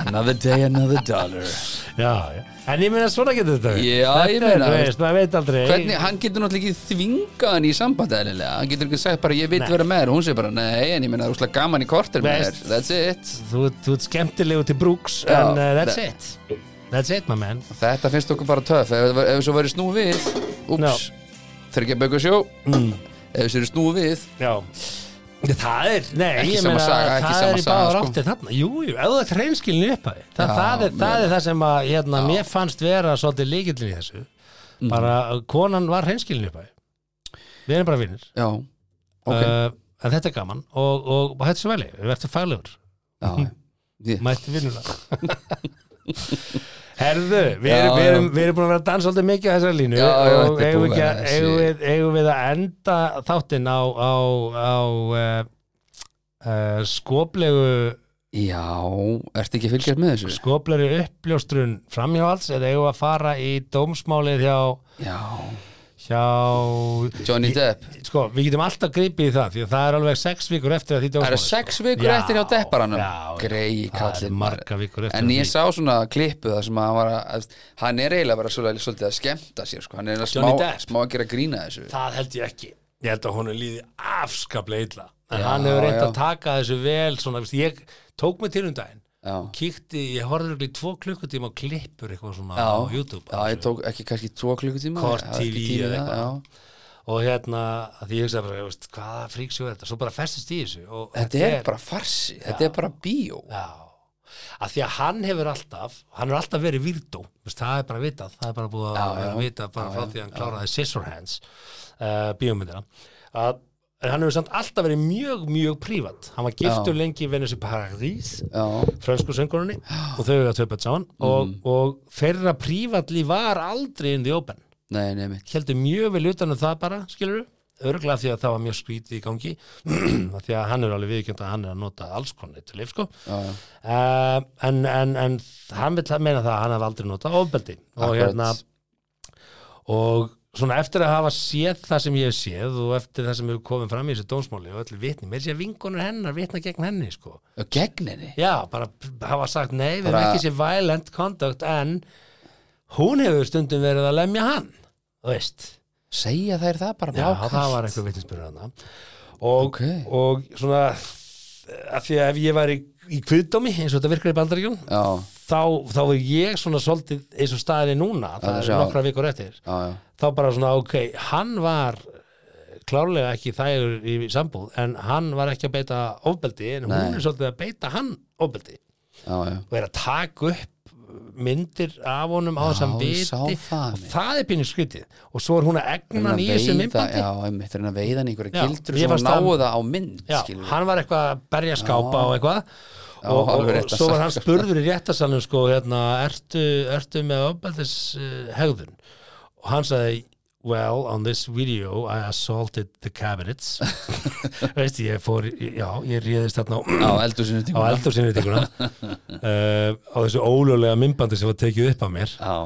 Another day, another dollar. Já, já. en ég meina svona getur þetta verið. Já, Þetta ég er, meina, þú veist, veist, maður veit aldrei Hvernig, hann getur náttúrulega ekki þvingað hann í sambandi eðlilega, hann getur ekki sagt bara ég vil Nei. vera með þér og hún segir bara nei, en ég meina úslega gaman í korter með þér, Veist. that's it þú, þú ert skemmtilegu til brúks Já, en uh, that's ne- it that's it my man Þetta finnst okkur bara töff, ef, ef þessu verið snúið við úps, þryggja bökur sjó ef þessu verið snúið við já Það er, nei, Ekki ég sama meina, saga, ekki það sama er í saga, báðar sko. áttið þarna, jú, jú, ef þú ert reynskilin upphæði, það, Já, það, er, það meina. er það sem að, hérna, mér fannst vera svolítið líkillin í þessu, Mm. bara uh, konan var reynskilin upphæði við erum bara vinnir, Já, ok uh, en þetta er gaman og, og, og þetta er svo veli, við verðum faglegur Já, ég, mætti vinnuna Herðu, við erum, Já, við, já. erum, við erum búin að vera að dansa alltaf mikið á þessari línu Já, já, og þetta er eigum búið við, ekki að að, vera eigum, þessi- við, eigum við að enda þáttinn á, á, á uh, uh, skoplegu já ertu ekki að fylgjast með Sko. þessu? skoplegu uppljóstrun framhjáhalds eða eigum við að fara í dómsmálið hjá, Já, hjá Johnny Depp sko, við getum alltaf gripið í það því að það er alveg sex vikur eftir að því Það dómsmálið sko. eru sex vikur Já, eftir hjá depparanum já, já. Grei það kallinn er maður. marga vikur eftir En af ég því. sá svona klippu það sem hann var að hann er eiginlega bara svolítið, svolítið að skemmta sér sko. hann er eiginlega Johnny smá, Depp. smá að gera grína þessu Það held ég ekki Ég held að honum líði afskaplega illa En Já, hann hefur reynd að já. taka þessu vel svona, veist, Ég tók mig til um daginn Já, Kíkti, ég horfði örugglega í tvo klukkutíma og klippur eitthvað svona já, á YouTube já ég tók ekki kannski tvo klukkutíma Kort já, ekki TV tími eða það, eitthvað. já. Og hérna, að því ég hugsaði bara, veist, hvaða fríksjó er þetta Svo bara festist í þessu og Þetta er bara farsi, þetta er bara bíó Já að því að hann hefur alltaf hann hefur alltaf verið vírdó veist, það er bara vitað, það er bara búið að Já, já. vera vitað bara Já, frá já, því að hann kláraði Scissorhands uh, bíómyndina að en hann hefur samt alltaf verið mjög, mjög prívat hann var giftur lengi í Venice í Paris Já, Mm. frönsku söngurunni og þau hefur að tveipat saman og, og þeirra prívatli var aldrei in the open nei, nei, mitt heldur mjög vel utan um það bara, skilur örglega því að það var mjög skrítið í gangi af því að hann er alveg viðkjönd að hann er að nota alls konni til leif sko já. uh, en, en, en hann vil meina það að hann hef aldrei notað ofbeldi og Akkurat. hérna og svona eftir að hafa séð það sem ég hef séð og eftir það sem hefur komið fram í þessu dómsmáli og öllu vitni, mér sé að vinkonur hennar vitna gegn henni sko Og gegn henni Já, bara p- hafa sagt nei, við erum Bara- ekki sér violent conduct en hún hefur stundum verið að lemja hann þú veist, Segja þær það bara já, blákalt? það var einhver vitnisbyrður hann og, Ok. og svona af því að ef ég var í, í kviðdómi eins og þetta virkar í bandaríkjum Já, þá, þá er ég svona svolítið eins og staðið er núna, það Já, er já. nokkra vikur eftir já, já þá bara svona, ok, hann var eh, klárlega ekki þægur í sambúð en hann var ekki að beita ofbeldi en hún Nei. er svolítið að beita hann ofbeldi Já, já, og er að taka upp myndir af honum á þessam ég viti sá það, og mér. það er pínu skrítið og svo er hún að egna hann í þessu myndbandi já, einmitt, reyna að veiða hann í einhverja Já, gildur mér sem fannst náu hann- það á mynd já, skilur við. hann var eitthvað að berja skápa og eitthvað Já, og, og, alveg og rétt að svo var sagt, hann sko. spurður í réttasalum sko, hérna, ertu, ertu með ofbeldis uh, hegðun og hann sagði well, on this video I assaulted the cabinets veist, ég fór, í- já, ég réðist þarna á á eldusinu á tíma eldursinnitinguna uh, á þessu ólöglega myndbandi sem var tekið upp af mér Já,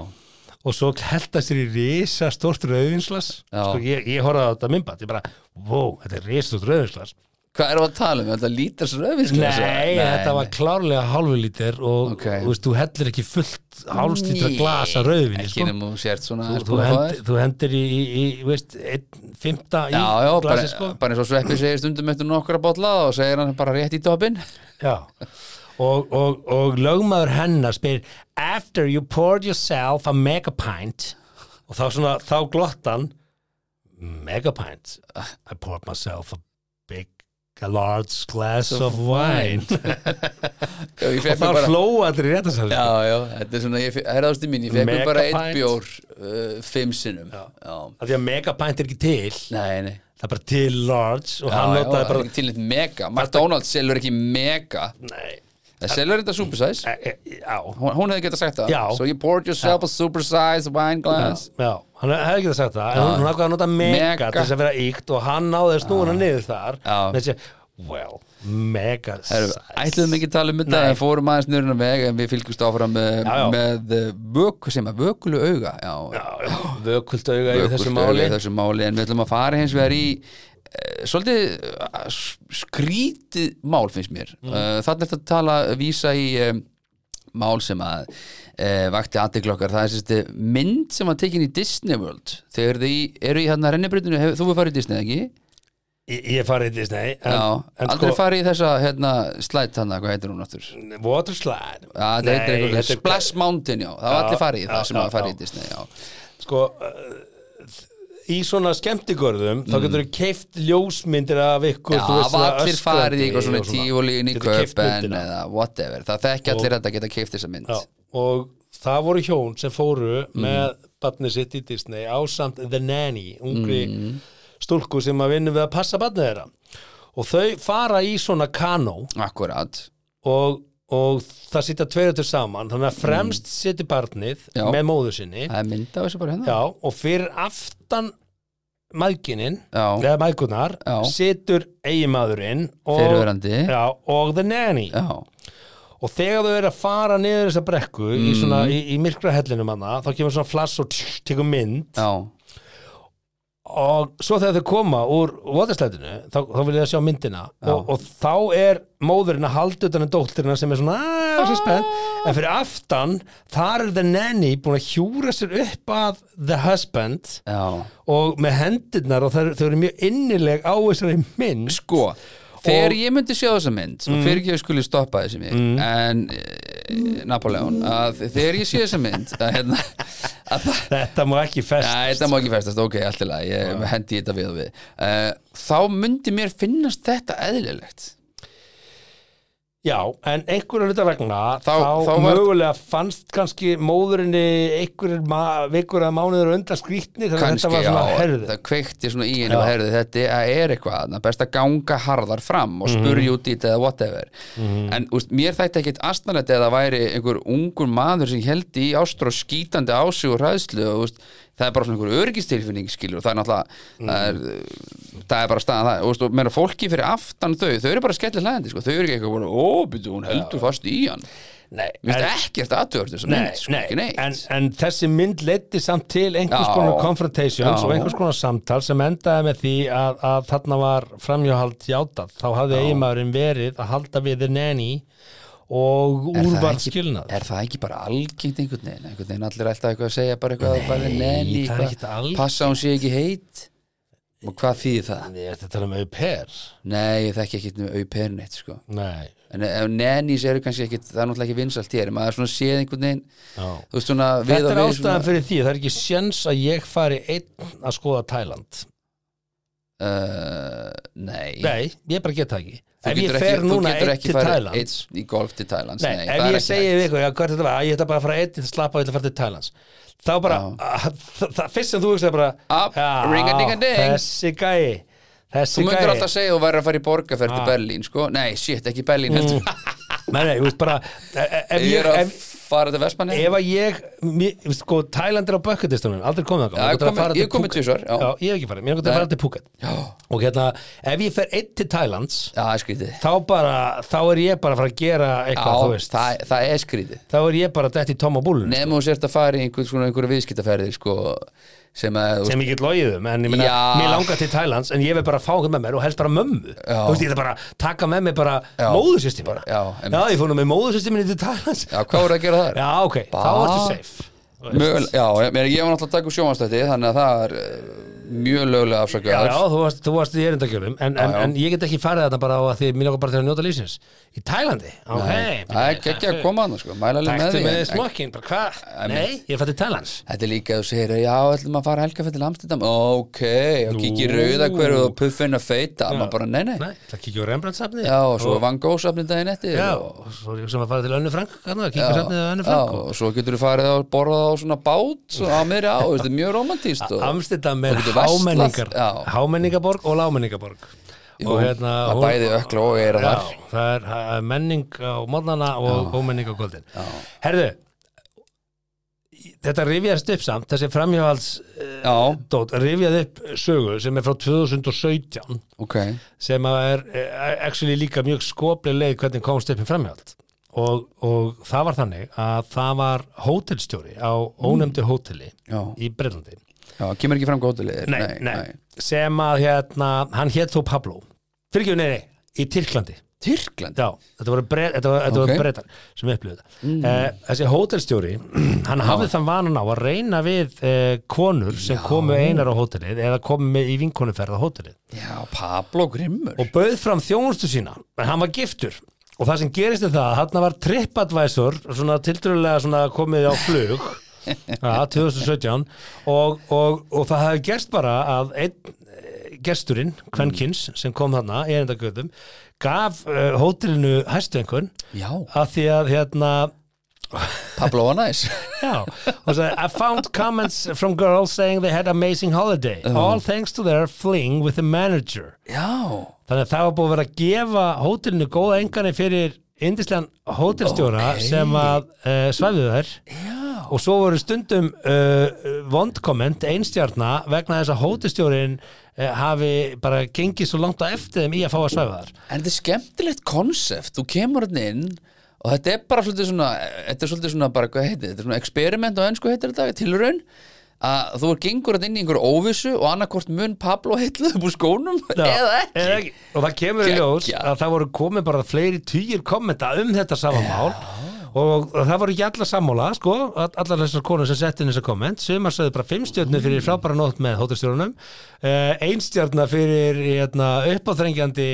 og svo held að sér í risa stort rauðinslas Já. sko, ég, ég horfði á þetta myndband ég bara, wow, þetta er risa stort rauðinslas hvað erum við að tala um? Þetta lítars sko? röfinsklasa? Nei, þetta var klárlega hálfu lítir og Ok. þú veist, þú hellir ekki fullt hálfstítra glasa rauðvinni Ekki sko. nema þú sért svona þú, aðeins þú, búin að fá hend, þér. þú hendir í, í, í þú veist, einn, fymta í Já, já, bara, glasi sko. bara eins og Sveppi segir stundum eftir nokkra bolla og segir hann bara rétt í dopin Já. Og, og, og lögmaður hennar spyr after you poured yourself a megapint og þá svona, þá glottan megapint I poured myself a big a large glass of wine og þá Já, hlóu allir í réttarsal já, þetta er svona, ég fe- herraðusti mín, ég fekk mér bara einn Megapint. bjór uh, fimm sinnum Já, af því að megapint er ekki til nei, nei það er bara til large og Já, hann já, það notaði er bara ekki til neitt mega McDonalds selur ekki mega nei, það selur þetta supersize e, e, já, hún, hún hefði getað sagt það Já. so you poured yourself a supersize wine glass já, hann hefði ekki það sagt það en Já. hún ákvað að nota mega, Mega. til þess að vera íkt og hann náði snúna niður þar Já. með þessi, well, mega Heru, ætluðum ekki að tala um þetta en fórum aðeins nörðuna veg en við fylgjumst áfram með, Já, já. með eh, vöku sem að vökulu auga já, vökult auga í vökult þessu auga máli í þessu máli en við ætlum að fara hins vegar í e, svolítið eh, s- skrítið mál finnst mér mm. þannig að tala, vísa í e, mál sem að e, vakti aðdeglokkar, það er sérst mynd sem að tekin í Disney World þegar þið eru í hérna rennibrutinu hef, þú hefur farið í Disney, ekki? ég, ég farið í Disney en, Já, en aldrei sko, farið í þessa hérna, slætt hana, hvað heitir hún áttur? water slide Já, þetta Nei, heitir einhvern þetta er- Splash Mountain, já, það var Já, allir farið í það já, sem já, að farið já. í Disney, já sko uh, í svona skemmtigörðum þá getur þú keift ljósmyndir af ykkur Mm. Já, þú það var veist, svona allir farið í öskrandi eitthvað svona og tífólín í Getur keypt köpen myndina. eða whatever, það þekki allir þetta geta keift þessa mynd Já, og það voru hjón sem fóru með barnið sitt í Disney ásamt The Nanny, ungri stúlku sem að vinna við að passa barnið þeirra og þau fara í svona kanó Akkurat, og, og það sitja tveirur til saman þannig að fremst mm. sitja barnið Já. með móður sinni það er mynd af þessu bara hérna já, og fyrir aftan mæðginin Já, eða mæðgunar Já. situr eigimaðurinn og, fyrirverandi Já, já, og The Nanny já, og þegar þau eru að fara niður þessa brekku í, svona, í, í myrkra hellinum hana þá kemur svona flass og tss, tekur mynd og svo þegar þau koma úr waterslætinu þá, þá vil ég að sjá myndina og, og þá er móðurinn að halda utan en dóttirina sem er svona "Ah, svo spennt en fyrir aftan þar er the nanny búin að hjúra sér upp að the husband já og með hendurnar og þau, þau eru mjög innileg á þessari mynd Sko, þegar ég myndi sjá þessa mynd Mm. og fyrir ekki ég skuli stoppa þessi mig en e, Napoleon að þegar ég sé þessa mynd að, hérna, að það þetta má ekki fest Nei, þetta má ekki festast, ok, allt í lagi, ég hendi þetta við og við uh, Þá myndi mér finnast þetta eðlilegt Já, en einhverju hluta vegna þá, Þá- þá var- mögulega fannst kannski móðurinni einhverjur ma- vikur eða mánuður á undan skrýtni þannig að Kannski, þetta var svona já, herð það kveikti svona í henni og herði þetta er- er eitthvað, það best að ganga harðar fram og spurja Mhm. út í þetta eða whatever En úst, mér þætti ekkit astnalegt eða það væri einhver ungur maður sem held í ástrá skítandi á sig og hræðslu og úst, það er bara svona einhver örgistilfinning skilur og það er náttúrulega það, Mhm. er, það er bara staðan það úst, og meira fólki fyrir aftan þau, þau eru bara skellir hlæðandi sko, þau eru ekki eitthvað bara, ó, byrju, hún heldur fast í hann Nei, Mér en, finnst ekkert aðtöður þess að nei, mynd, sko, ekki nei, neitt en, en þessi mynd leiddi samt til einhvers Já. konar confrontations Já. og einhvers konar samtal sem endaði með því að, að þarna var framhjóhald játað þá hafði eiginmaðurinn verið að halda við þeir nenni og Er það úrvarð ekki- skilnað er það ekki bara algengt einhvern veginn einhvern veginn allir alltaf eitthvað að segja bara eitthvað bara nenni, það er eitthvað, ekkert algengt. passa að hún sé ekki heit og hvað þýðir það? Ég ætti að tala um auper Nei, ég þekki ekkert með auper neitt sko. Nei, en ef nennis eru kannski ekkert það er náttúrulega ekki vinsalt hér, maður svona séð einhvern veginn já þú veist svona við Þetta og er við ástæðan fyrir því, það er ekki sjens að ég fari einn að skoða Tæland uh, Nei, Nei, ég bara get það ekki Þú Ef ég getur fer þú núna getur einn ekki til farið Tæland Nei, einn í golf til Tælands, nei, það ef er ég ekki segi hægt. við ykkur, já, hvað er þetta var, "Æ, ég ætla bara að fara einn til að slappa, ég ætla að fara til Tælands Þá bara, að, það, það fyrst sem þú hugsaði bara Up, já, ring-a-ding-a-ding. Þessi gæi Þú Þessi myndir gæi alltaf segja að þú væri að fara í borgarferð til Ah. Berlín sko? Nei, shit, ekki Berlín heldur Nei, nei, þú veist bara e- e- ef Ég ég, er að ef, fara til Vestmanni ef að ég mér- þú veist, sko, Tæland er á bökkutistunum, aldrei komið þangað Já, Mig langar til að komi- fara til ég komið Phuket. tvisvar, já. Já, ég hef ekki farið, mér er að Nei. fara til Phuket Já, og hérna, ef ég fer einn til Tælands það er skrítið þá bara, þá er ég bara að fara að gera eitthvað, þú Já, veist það, það er skrítið þá er ég bara dætt í Tom og Búlun Nefnum þú sért að fara í einhver, svona, einhverja viðskiptaferðir sko, sem að sem ég get logiðum, en ég meina, Já. mér langar til Tælands en ég vil bara fá einhvern með mér og helst bara mömmu Já. þú veist, ég ætla bara að taka með mér bara Já. móðursystir bara Já, já, einmitt. ég fór nú með móðursystir minni til Tælands Já, hvað voru að gera þar? já, ok, Bara- þá ertu safe Þú veist. Mögul, já, ég, meina, ég var náttúrulega að taka úr sjómanstætti þannig að það er eh, mjög lögulega Já, afsakaður já, þú varst, þú varst í erindagjölum en, en, Já, já. en ég get ekki farið þarna bara á að því mér langar bara til að njóta lífsins í Tælandi, ok Það er ekki að koma hann sko, mæla alveg með Taktu því með en- en smokkin, bara hvað? Nei, ég fætti Tælands Þetta er líka að þú segir, já, ætlum að fara helga fyrir Amstendam, ok, og kikið rauða hverju og puffin að feita, maður bara, nei, nei, Nei, það kíkja á Rembrandt-safni já, og svo Van Gogh safnið daginn eftir, Já, og, og svo er ég sem að fara til Önnu Frank hérna, kíkja á já, safnið á Önnu já, Frank og- og svo getur þú farið að borða á svona bát og á meðri á, þetta er mjög romantíst og, Amstendam og er getur verslað, hámenningar já. hámenningaborg og lámenningaborg Jú, hérna, það bæði ökla og er já, þar, það er það er menning á mornana og ómenning á kvöldin herðu þetta rifjaðist upp samt þessi framhjáhalds eh, já, dót, rifjað upp sögu sem er frá 2017 ok, sem að er eh, actually líka mjög skoplega leið hvernig komst upp í framhjáhald og, og það var þannig að það var hótelstjóri á ónefndi hóteli já, í Breitlandi já, kemur ekki fram góðulegir, nei, nei, sem að hérna, hann hétt þó Pablo fyrirgjöf, nei, nei, í Tyrklandi Tyrkland, já, þetta voru, bre, þetta var, þetta Ok. voru brettar sem upplifðu þetta eh, þessi hótelstjóri, hann hafði þann vanan á að reyna við eh, konur sem komu einar á hótelið eða komu með í vinkonuferð á hótelið já, Pablo Grimmur, og bauð fram þjónustu sína en hann var giftur og það sem gerist er það að hann var trippadvæsur svona tildröðlega svona komið á flug ja, 2017 og, og, og það hafi gerst bara að einn eh, gesturinn, Kvenkins sem kom þarna í erindagöðum gaf uh, hótelinu hæstu einhvern já, að því að hérna Pablo var næs, Já, og sagði, I found comments from girls saying they had amazing holiday all thanks to their fling with the manager já, Þannig að það var búið að vera að gefa hótelinu góða engani fyrir indislegan hótelstjóra Ókei. sem að uh, svæfðu þær já, og svo voru stundum uh, vondkomment einstjarna vegna þess að hótelstjórin uh, hafi bara gengið svo langt á eftir þeim í að fá að svæfa þær En þetta er skemmtilegt konsept, þú kemur hann inn og þetta er bara svolítið svona, þetta er svolítið svona bara, hvað heitir, þetta er svona experiment og ennsku heitir þetta, tilraun að þú er gengur hann inn í einhverju óvissu og annarkvort mun Pablo heitlaði upp úr skónum eða ekki og það kemur í ljós Geggjað. að það voru komið bara fleiri týjir kommenta um þetta sama mál og það voru ekki allar sammála sko, all- allar þessar konur sem setti inn þessar komment sumar sögðu bara fimmstjörnu fyrir frábæra nótt með hótelstjórunum uh, einstjörna fyrir hérna, uppáþrengjandi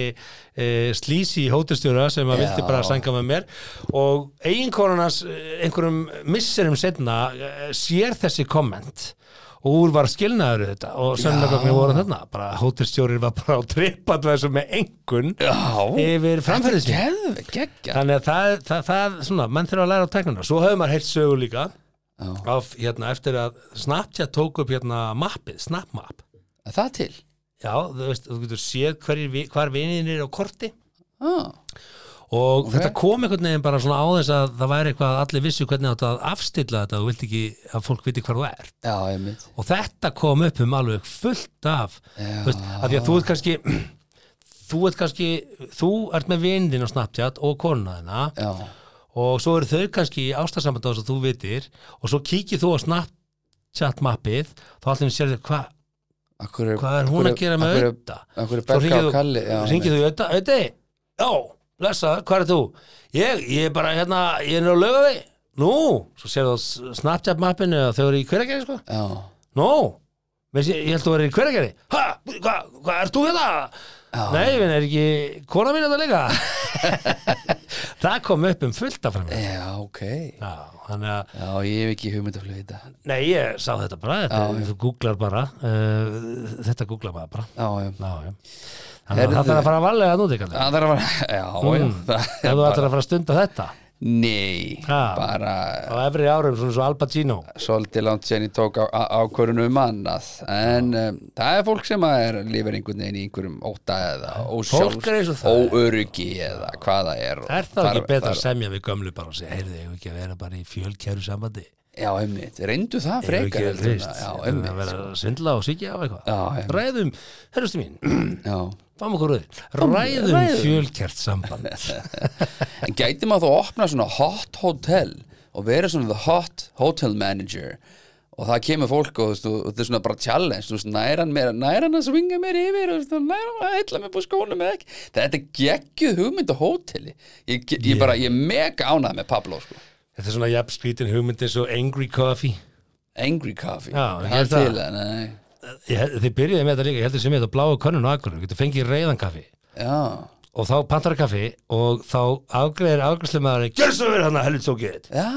uh, slísi hótelstjóra sem að Já. vildi bara sanga með mér og eiginkonarnas eh, einhverjum misserum setna uh, sér þessi komment og úr var skilnaður við þetta og sönnagögnu voru þarna bara hótelstjórir var bara á trippadvæsum með engun Já, yfir framferðis geðveg, geggja þannig að það, það, það svona, menn þurfa að læra á teknuna svo höfum maður heilt sögu líka af, hérna, eftir að Snapchat tók upp hérna mappið, Snapmap Er Það til já, þú veist, þú getur séð hverjir vi- hvar vinninir er á korti ah. og þetta kom einhvern veginn bara svona á þess að það væri eitthvað að allir vissu hvernig áttu að afstilla þetta og vilt ekki að fólk viti hvar þú ert Já, ég mynd og þetta kom upp um alveg fullt af Já. þú veist, af því að þú ert kannski þú ert kannski þú ert með vindin á Snapchat og konuna þina Já, og svo eru þau kannski í ástarsamband á þess að þú vitir og svo kíkir þú á Snapchat mappið þá allir sér þau hvað akkur er hvað er hún að gera með auðvita Akkur er svo Berka ringir og Kalli þú, ringir þú auðvita auðvita, já, blessa, hvað er þú ég, ég er bara hérna, ég er nú að löga þig nú, svo sér þú Snapchat mappinu að þau eru í hverjargerði sko Já, Nó, veist ég, ég held að þú verið í hverjargeri Ha, hvað, hvað, ert þú hérna? Nei, minn, er ekki kona mín þetta líka? það kom upp um fullt af fram Já, já, ok Já, þannig að, ég hef ekki hugmyndaflöð í þetta nei, ég sá þetta bara þetta, þú googlar bara uh, þetta googlar maður bara Já, já Já, já Þannig að Heyrðu. það þarf að fara að valega nú, þig Mm. Það þarf að vera, já, já, það Ef þú ætlar að fara að stunda þetta Nei, Ha. bara á efri árum svona svo Al Pacino svolítið langt sen ég tók á- á- ákvörðun um annað en um, það er fólk sem að er lifir einhvern veginn í einhverjum óta eða Fólk er eins ósjálfs, og það er. óöryggi eða hvað það er og Er það ekki þar- betra að þar- semja við gömlu bara og segja, heyrðu, eigum við ekki að vera bara í fjölkjæru sambandi? Já, einmitt, reyndu það Eigum við frekar ekki, heldur þú en veist, að- Já, eigum við að vera einmitt að svindla og sykja á eitthvað? Já, einmitt. Ræðum, herrustu mín, Já. fáum okkur rauðir, ræðum, ræðum. fjölkjært samband. En gæti maður þú að opna svona hot hotel og vera svona the hot hotel manager og það kemur fólk og, þú veist, og þetta er svona bara challenge þú veist, nær hann meira, nær hann að svinga mér yfir og þú veist, nær hann að hella mér på skónum eða ekki þetta er geggjuð hugmynd á hóteli ég, ég bara, ég er mega ánæð með Pablo sko. Þetta er svona jafn skrítin hugmynd eins og Angry Coffee. Angry Coffee Já, ég það held er til það. að, nei Ég held- Þið byrjuði með þetta líka, ég heldur sem ég þetta bláa könnun á akkurinn, getur fengið reyðan kaffi Já, og þá pantar kaffi og þá afgreðir afgreðslu maður, gjör svo verið hann að helvits og get. já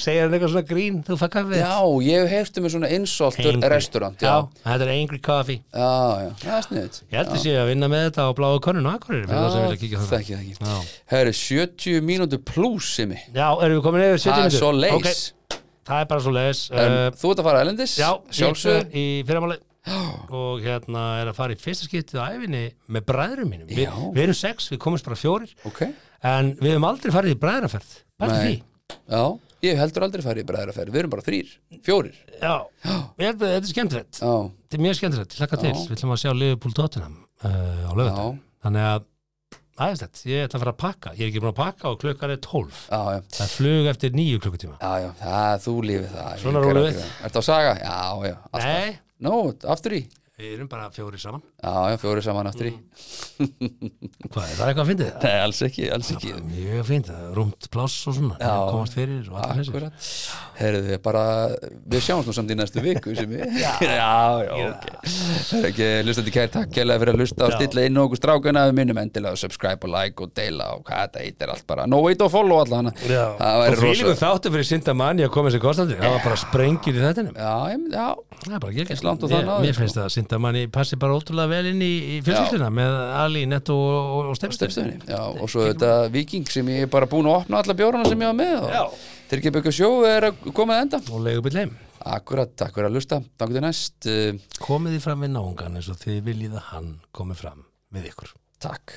Segir hann eitthvað svona grín, þú fæ kaffi. Já, ég hef hefti með svona insultur Angry. restaurant Já, Já, þetta er Angry Coffee. já, já, það er sniðut Ég held að sé að vinna með þetta á bláu könnun og akkurir fyrir það sem vilja kíkja það þannig. ekki, það ekki Já. Það eru 70 mínútur pluss sem ég Já, erum við komin yfir 70 Það er mínútur? svo leis Ok, það er bara svo leis. Uh, um, Þú ert að fara elendis já, Sjálfsög ég er í fyrramáli og hérna er að fara í fyrsta skiptið á æfinni með bræðurum mínum. Vi, Já. við erum sex, við komumst bara fjórir, Ok en við hefum aldrei farið í bræðraferð. Bara Nei. því. Já Ég heldur aldrei farið í bræðraferð Við erum bara þrýr Fjórir Já, ég held að þetta er skemmtilegt. Já Þetta er mjög skemmtilegt, ég hlakka til. Já. Við ætlum að sjá Liverpool Tottenham uh, á Já lögum. Þannig að, aðeinslegt, ég ætla að fara að pakka. Ég er ekki búin að pakka og klukkan er 12. Já, já Það er flug eftir níu klukkutíma. Já, já, það, þú lífið það Svona Ég- rúlum við. Ertu á saga? Já, já alltaf. Nei, Nó, aftur í við erum bara fjóri saman. Já, já, fjórir saman aftur í Mm. Hvað, er það eitthvað að fyndið það? Nei, alls ekki, alls ekki Mjög fyndið, það er rúmt pláss og svona, Já. komast fyrir og allir þessi. Akkurat Herðu, bara Við sjáumst nú samt í næstu viku sem við Já, já, já, ok Það er ekki hlustandi kæri takk kærlega fyrir að hlusta og stilla inn okkur strákuna við minnum endilega að subscribe og like og deila og hvað þetta heitir allt bara no wait og follow allan Það og væri fylgjum rosa þáttu fyrir Sindamanni að koma þessi kostandi, það var bara sprengir í þettinum. Já, ég- já, Það er bara Eins ekki langt og það Mér, náði, mér sko. finnst það að Sindamanni passi bara ótrúlega vel inn í, í fjölskyldina með Ali, Netto og, og, og Stefnstöð. stefstöðinni Já, og svo þetta viking sem ég er bara búin að opna alla bjórana sem ég var með Já. og þeir ekki að byggja sjó er að koma að enda Og legubill heim. Akkurat, takk fyrir að hlusta, takk til næst uh, Komið þið fram við náungan eins og þið viljið að hann komi fram við ykkur. Takk